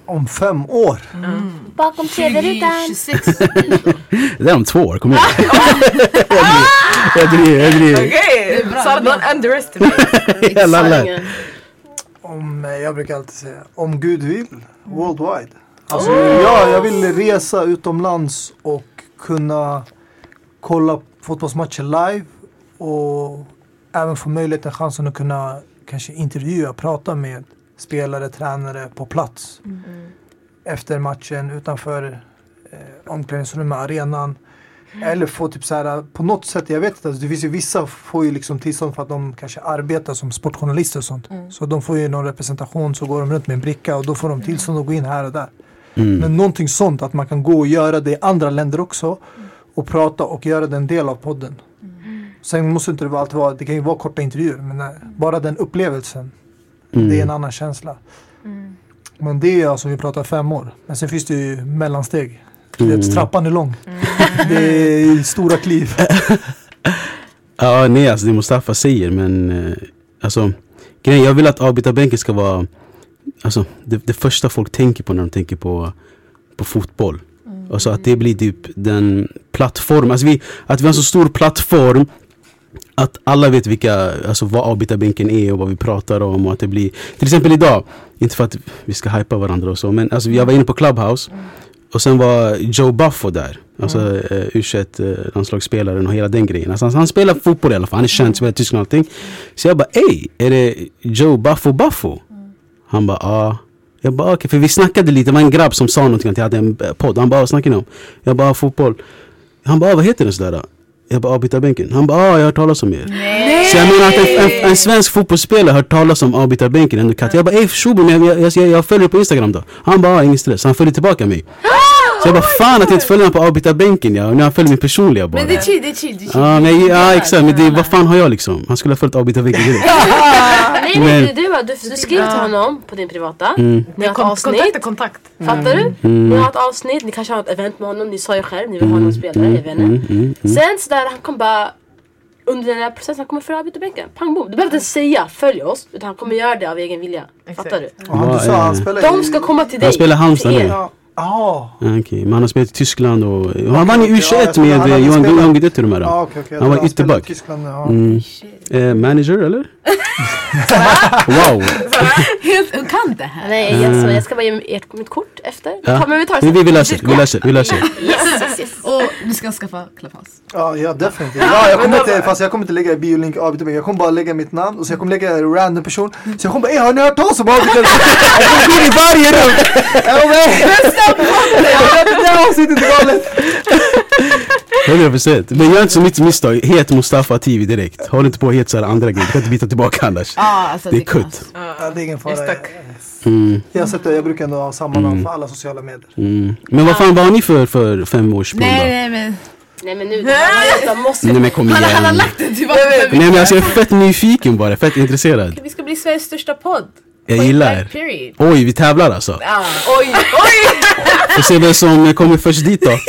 E: Om fem år.
A: Bakom tredjerutan.
C: 26.
F: Det där är om två år, kom igen. Jag driver, jag driver.
D: Okej!
C: bra,
D: Sara,
C: bra.
D: don't underestimate.
F: Jag lallar.
E: Om, eh, jag brukar alltid säga, om Gud vill, worldwide. Alltså, ja, jag vill resa utomlands och kunna kolla fotbollsmatcher live och även få möjligheten, chansen att kunna kanske intervjua, prata med spelare, tränare på plats. Efter matchen, utanför eh, omklädningsrummet, arenan. Eller få typ så här, på något sätt, jag vet inte, alltså, det finns ju vissa får ju liksom tillstånd för att de kanske arbetar som sportjournalister och sånt. Så de får ju någon representation så går de runt med en bricka och då får de tillstånd att gå in här och där. Men någonting sånt att man kan gå och göra det i andra länder också och prata och göra det en del av podden. Sen måste inte det alltid vara, det kan ju vara korta intervjuer men eh, bara den upplevelsen. Det är en annan känsla. Men det är alltså vi pratar fem år. Men sen finns det ju mellansteg. Du vet, trappan är lång. Det är stora kliv.
F: Ja, nej alltså det Mustafa säger men eh, alltså grejen, jag vill att avbytarbänken ska vara alltså det, det första folk tänker på när de tänker på, på fotboll. Alltså att det blir typ den plattformen, alltså vi, att vi har en så stor plattform att alla vet vilka, alltså vad avbytarbänken är och vad vi pratar om och att det blir Till exempel idag, inte för att vi ska hypa varandra och så men alltså jag var inne på Clubhouse och sen var Joe Buffo där. Alltså eh, U21 eh, landslagsspelaren och hela den grejen. Alltså, han, han spelar fotboll i alla fall. Han är känd, spelar i Tyskland och allting. Så jag bara ey, är det Joe Buffo Buffo? Han bara ja. Jag bara okej, för vi snackade lite. Det var en grabb som sa någonting att jag hade en eh, podd. Han bara vad snackar ni om? Jag bara fotboll. Han bara "Ah, vad heter den sådär? då?" Jag bara avbytarbänken. Han bara ah, jag har hört talas om er. Så jag menar att en, en, en svensk fotbollsspelare har hört talas om avbytarbänken ändå katt. Jag bara ey Shubo, men jag, jag, jag, jag följer på Instagram då. Han bara ah, ingen stress. Han följer tillbaka mig. Så jag bara fan att jag inte följer honom på avbytarbänken ja. Och nu har han följer min personliga bara.
C: Men det är chill, det är chill. Det är chill.
F: Ja men ja exakt, men det, vad fan har jag liksom? Han skulle ha följt avbytarbänken direkt.
A: Nej, nej, du, du, bara- du, du skriver
C: Ah.
A: till honom på din privata. Ni har ett
D: Kon- kontakt är
A: avsnitt.
D: kontakt.
A: Fattar
F: Mm.
A: du? Ni har ett avsnitt, ni kanske har ett event med honom. Ni sa ju själv, ni vill ha någon
F: Mm.
A: spelare, jag vet inte. Sen sådär, han kom bara under den här processen, han kommer föra avbytarbänken. Pang bom. Du behöver inte ens säga följ oss, utan han kommer göra det av egen vilja. Fattar du?
E: Och han, du sa,
F: Mm.
E: han spelar
A: De
E: i-
A: ska komma till dig.
F: Jag spelar Halmstad
A: till
F: nu.
A: er.
F: Ja,
E: Ja, ah,
F: Okej, men han har spelat i Tyskland och och han vann i
E: okej, ja, jag
F: U21
E: tror han
F: med
E: hade
F: eh, Johan
E: spelat-
F: Johan Guidetti och de här.
E: ah, okej, okej.
F: Han var
E: spelar i
F: ytterback.
E: Tyskland, ja.
F: Eh, manager eller? wow!
C: Helt, hon kan det här.
A: Nej, jag, så, jag ska bara ge ert, mitt kort efter.
F: Mm. Ja.
A: Ja. Men vi tar
F: Vi,
A: det
F: vi,
A: sen.
F: vi löser det, vi löser det, vi löser det.
A: Yes, yes, yes.
C: Och du ska skaffa Clubhouse.
E: Ja, ja definitivt. Ja, jag kommer inte, fast jag kommer inte lägga biolink avbytarbänken. Jag kommer bara lägga mitt namn och så jag kommer lägga en random person. Så jag kommer bara, "Ey, har ni hört talas om avbytarbänken?
F: Vi går i varje rum!
E: Jag kommer, det här avsnittet är galet.
F: 100% Men gör inte som mitt misstag, het Mustafa TV direkt. Håll inte på och het såhär andra grejer, du kan inte byta tillbaka annars.
C: Ah, alltså,
F: Det är
C: kan-
F: kutt.
E: Ja, det är ingen fara.
D: Jag är stuck.
F: Mm,
E: Jag har sett det, jag brukar ändå ha samma namn för alla sociala medier.
F: mm. Men vad fan vad har ni för, för femårsplan
C: Nej,
F: då?
C: nej, men.
A: Nej men nu, det här- man måste...
F: Nej men kom igen.
C: Han har lagt det tillbaka.
F: Nej men alltså jag är fett nyfiken bara, fett intresserad.
C: Vi ska bli Sveriges största podd.
F: Jag gillar er.
C: Period.
F: Oj, vi tävlar alltså.
D: Oj, oj!
F: Får se vem som kommer först dit då.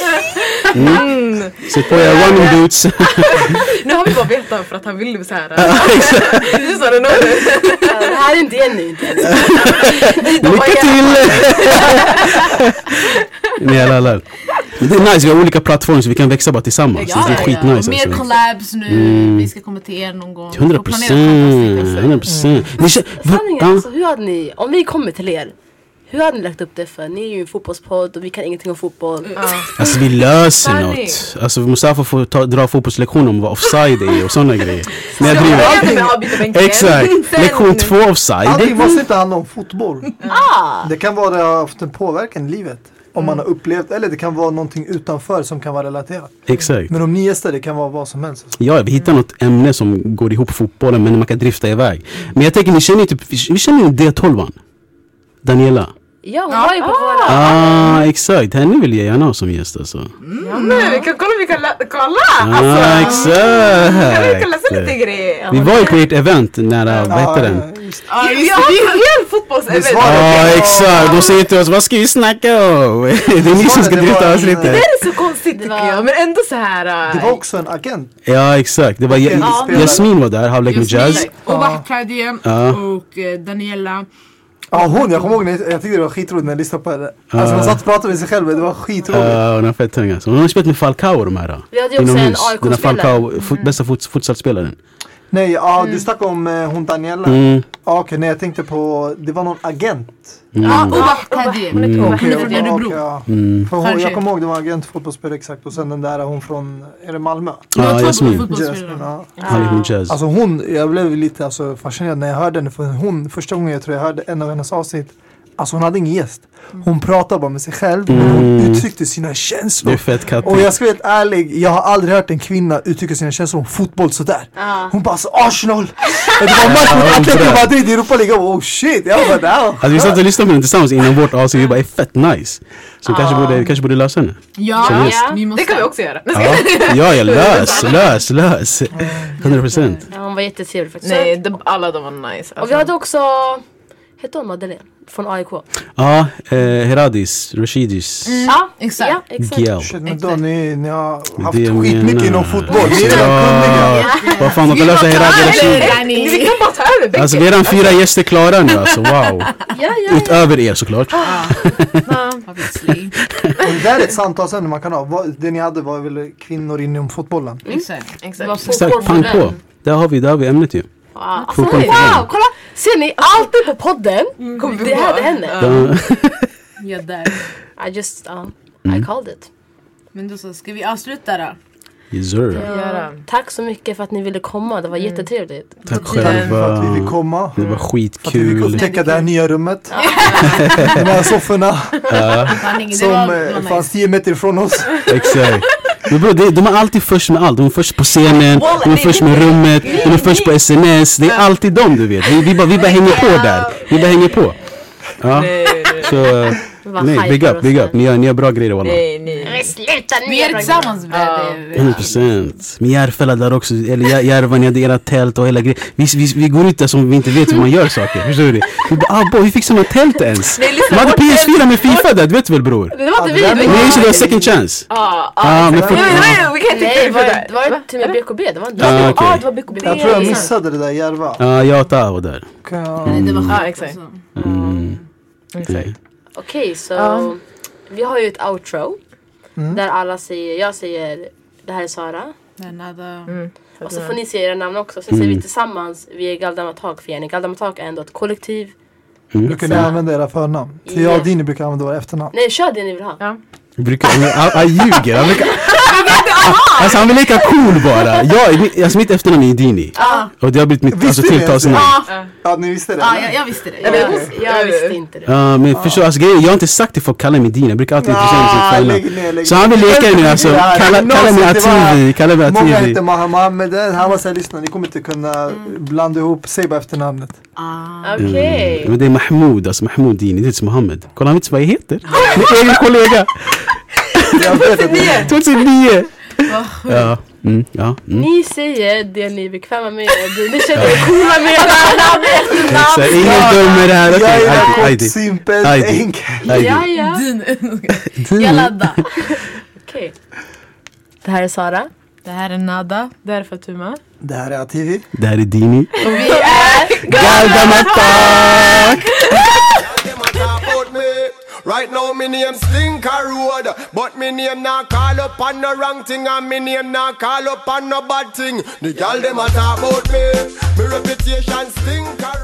F: Mm. Sätt på er running boots.
D: Nu har vi bara vetat för att han ville så här. Just det, nu.
A: Det här är inte Jenny. inte Jenny.
F: Lycka till! Nej alla, alla. Det är nice, vi har olika plattformar så vi kan växa bara tillsammans. det är skitnice
C: Mer
F: alltså.
C: collabs nu. Vi ska komma till er någon gång.
F: 100
C: Och planera
F: procent,
C: själva.
F: 100 procent.
A: Sanningen, alltså, hur hade ni, om vi kommer till er, hur hade ni lagt upp det för? Ni är ju en fotbollspodd och vi kan ingenting om fotboll.
F: Alltså vi löser
D: Sanning.
F: något. Alltså Mustafa får ta, dra fotbollslektion om vad offside är och sådana grejer. Nej jag driver.
D: Började med avbytarbänken.
F: Exakt!
D: Sen-
F: Lektion två offside.
E: Allting måste inte handla om fotboll.
B: Ah.
E: Det kan vara det har haft en påverkan i livet. Om man har upplevt, eller det kan vara någonting utanför som kan vara relaterat.
F: Exakt.
E: Men om ni gäster, det kan vara vad som helst.
F: Ja, vi hittar något ämne som går ihop fotbollen men man kan drifta iväg. Men jag tänker, ni känner ju typ, vi känner ju D12an. Daniela.
A: Ja, hon var ju på våra...
F: Ah, exakt. Henne vill jag gärna ha som gäst alltså.
D: Ja, men vi kan kolla, vi kan lä- kolla! Alltså,
F: Ah,
D: Kan vi kan läsa lite
F: exakt.
D: grejer.
F: Vi var ju på ert event nära, vad hette
E: Ja,
F: den?
E: just det.
D: Vi vi har en hel fotbollsevent.
E: Det svarar-
F: Ja, exakt. De säger till oss, vad ska vi snacka om? Det är ni som ska
E: Det var-
F: drifta oss
D: Det
F: lite.
D: är så konstigt tycker jag, men ändå så här. äh,
E: Det var också en agent.
F: Ja, exakt. Det var
E: Ja.
F: Ja- Jasmin var där, Halvlek med Jazz.
B: Och Bahtradie och eh, Daniela.
E: Ja hon, jag kommer ihåg, när jag jag tyckte det var skitroligt när jag lyssnade på henne. Alltså hon satt och pratade med sig själv, det var skitroligt.
F: Ja, hon har fett tung alltså. Hon har spelat med Falcao och de här. då.
A: Vi hade ju också en
F: Inomhus. Den här
A: AIK-spelare.
F: Falcao,
A: Mm.
F: fot, bästa fot, futsalspelaren.
E: Nej, ja
B: Mm.
E: du snackade om eh, hon Daniela.
F: Mm.
E: Ja, Okej, nej jag tänkte på, det var någon agent.
B: Ja, och Bahtradie. Ah, Hon är
E: Okej,
B: från
E: ja,
B: Örebro.
E: okej, ja. För hon,
B: Kanske.
E: jag kommer ihåg det var agent, fotbollsspelare exakt och sen den där hon från, är det Malmö?
F: Ja, Jasmin.
E: Jasmine,
B: fotbollsspelare.
E: ja.
F: Halvlek med Jazz.
E: Alltså hon, jag blev lite alltså, fascinerad när jag hörde henne. För hon, första gången jag tror jag hörde en av hennes avsnitt Alltså hon hade ingen gäst. Hon pratade bara med sig själv. Men hon uttryckte sina känslor.
F: Mm. Det är fett kattigt.
E: Och jag ska vara helt ärlig, jag har aldrig hört en kvinna uttrycka sina känslor om fotboll sådär.
A: Ja.
E: Hon bara alltså Arsenal! det var match
F: Ja,
E: mot
F: hon
E: Atletico
F: bröt.
E: Madrid i Europa League. Jag bara, Oh shit! Jag bara där.
F: Alltså vi satt och lyssnade på den tillsammans innan vårt avsnitt, vi bara är fett nice. Så kanske
A: Ah.
F: borde, kanske borde lösa henne.
A: Som
B: Ja,
A: gäst.
B: vi måste.
D: Det kan vi också göra. Nej,
F: Ja, ja, ja lös, lös, lös.
A: Mm.
F: 100 procent.
A: Ja, hon var jättetrevlig faktiskt.
D: Nej de, alla de var nice. Alltså,
A: Och vi hade också, hette hon Madeleine? Från AIK?
F: Ja, eh, Heradis, Rashidis,
A: Ja,
B: exakt.
A: Ja, Mm. exakt.
F: Giao.
E: Shit men då, ni, ni har haft
F: Det jag
E: skitmycket
F: menar. Alltså,
E: inom fotboll. Ni är redan kunniga.
F: Ja, vad fan, de kan lösa Heradi Rashidi.
D: Vi kan bara ta över bänken.
F: Alltså vi är redan fyra gäster klara nu alltså, wow.
A: Ja, ja, ja.
F: Utöver er såklart.
B: Obviously.
E: Och det där är ett samtalsämne man kan ha. Vad- Det ni hade var väl kvinnor inom fotbollen?
B: Mm. Exakt.
A: Det var
D: Exakt.
A: fotboll
F: Starkt
A: på
F: pang på.
A: den.
F: Där har vi, där har vi ämnet ju.
A: Wow. Alltså,
F: Fotboll på
A: wow,
F: den.
A: kolla! Ser ni? Alltid på podden kommer vi det här det händer.
F: Där-
B: Ja, där.
A: I just, um,
F: Mm.
A: I called it.
B: Men då så, ska vi avsluta då?
F: Yes, sir.
D: Göra.
A: Tack så mycket för att ni ville komma, det var jättetrevligt.
F: Tack
E: För att vi
F: själva.
E: vill komma.
F: Det
E: För
F: var
E: att vi fick
F: skitkul.
E: upptäcka det här nya rummet. De här sofforna
B: Fan, ingen- det
E: som
B: var-
E: eh,
B: det var
E: fanns
B: nice.
E: 10 meter ifrån oss.
F: Exakt. Men bro, de, de är alltid först med allt. De är först på scenen, de är först med rummet, de är först på sms. Det är alltid de du vet. Vi, vi, bara, vi bara hänger på där. Vi bara hänger på. Ja, så eh,
A: Vi bara
F: nej, big
A: hypar
F: up,
A: oss
F: big
A: här.
F: up. Ni gör, ni gör bra grejer walla.
D: Nej, nej.
A: Men sluta nu!
B: Vi är tillsammans med det.
F: 100 procent. Men Järfälla där också, eller Jär- Järva, ni hade era tält och hela grejen. Vi, vi, vi går ut där som vi inte vet hur man gör saker. Förstår du? Vi bara, ah boy, hur fixar man tält ens? Man hade PS4 med FIFA där, du vet väl bror?
A: Det var inte
E: Ja,
A: vi!
E: det
A: det
F: Nej,
A: var-
F: just det, det var second chance.
D: Ah, ah.
F: Ah, men fort, ah.
D: Nej, vi kan inte
A: Nej, det
D: klippa
A: var,
D: det
A: det
D: där.
A: var till och med BKB, det var inte
F: Ah,
A: vi.
F: okej.
D: det var BKB.
E: Jag tror jag missade det där Järva.
F: Ja, ah, Mm. jag och Taho där.
E: Kan jag-
B: Nej, det var sjukt.
D: Ja, exakt.
B: alltså.
D: Exakt.
A: Okej, så
D: Ja.
A: vi har ju ett outro. Där alla säger, jag säger det här är Sara.
B: Nej, nada.
A: Och så får ni säga era namn också. Sen säger vi tillsammans, vi är Galdamatak för er. Galdamatak är ändå ett kollektiv.
E: Brukar ni använda era förnamn? Så jag och Dini brukar använda våra efternamn.
A: Nej, kör det ni vill ha.
F: Jag brukar, han, han, han ljuger. Han brukar, alltså han vill leka cool bara. Jag, alltså mitt efternamn är Dini. Och det har blivit mitt
E: Visste
F: alltså,
E: ni ens det?
F: tilltalsnamn.
E: Ja, ni visste det?
B: Ja, jag, jag visste det.
A: Jag,
B: Jag,
A: jag visste inte det.
F: Ja men förstår alltså, grejen, jag har inte sagt till folk kalla mig Dina, jag brukar alltid intressera mig
E: Ah,
F: som
E: lägg ner, lägg
F: förnamn.
E: ner.
F: Så han vill leka nu alltså,
E: Det här är
F: kalla, kalla mig
E: gymnasiet, det var-
F: Ativi, kalla mig
E: Många
F: Ativi.
E: hette Mohammed, han var såhär lyssna ni kommer inte kunna
B: Mm.
E: blanda ihop, säg bara efternamnet.
A: Okej.
F: Men det är Mahmoud, alltså Mahmoud Dini, det är inte som Mohammed. Kolla han vet inte vad jag heter. Min egen kollega,
E: Jag vet att det
F: 2009. Ja, mm, ja, mm.
A: Ni säger det ni är bekväma med. Det ni känner er coola med.
F: Så, ingen dömer det här,
E: Jag
F: okej.
E: är
F: Aidi,
E: kort,
F: Aidi,
E: simpel,
F: Aidi.
E: enkel.
A: Ja,
F: Aidi.
A: ja.
B: jag laddar.
A: Okej. Det här är Sara.
B: Det här är nada.
D: Där Fatuma.
E: Det här är Ativi.
F: Det här är Dini.
B: Och vi är...
F: Galdamatak!
G: them a talk about me. Right now, me name Slinker Road, but me name not call up on no wrong thing, and me name not call up on no bad thing. The gal them a talk about me. Me reputation Slinker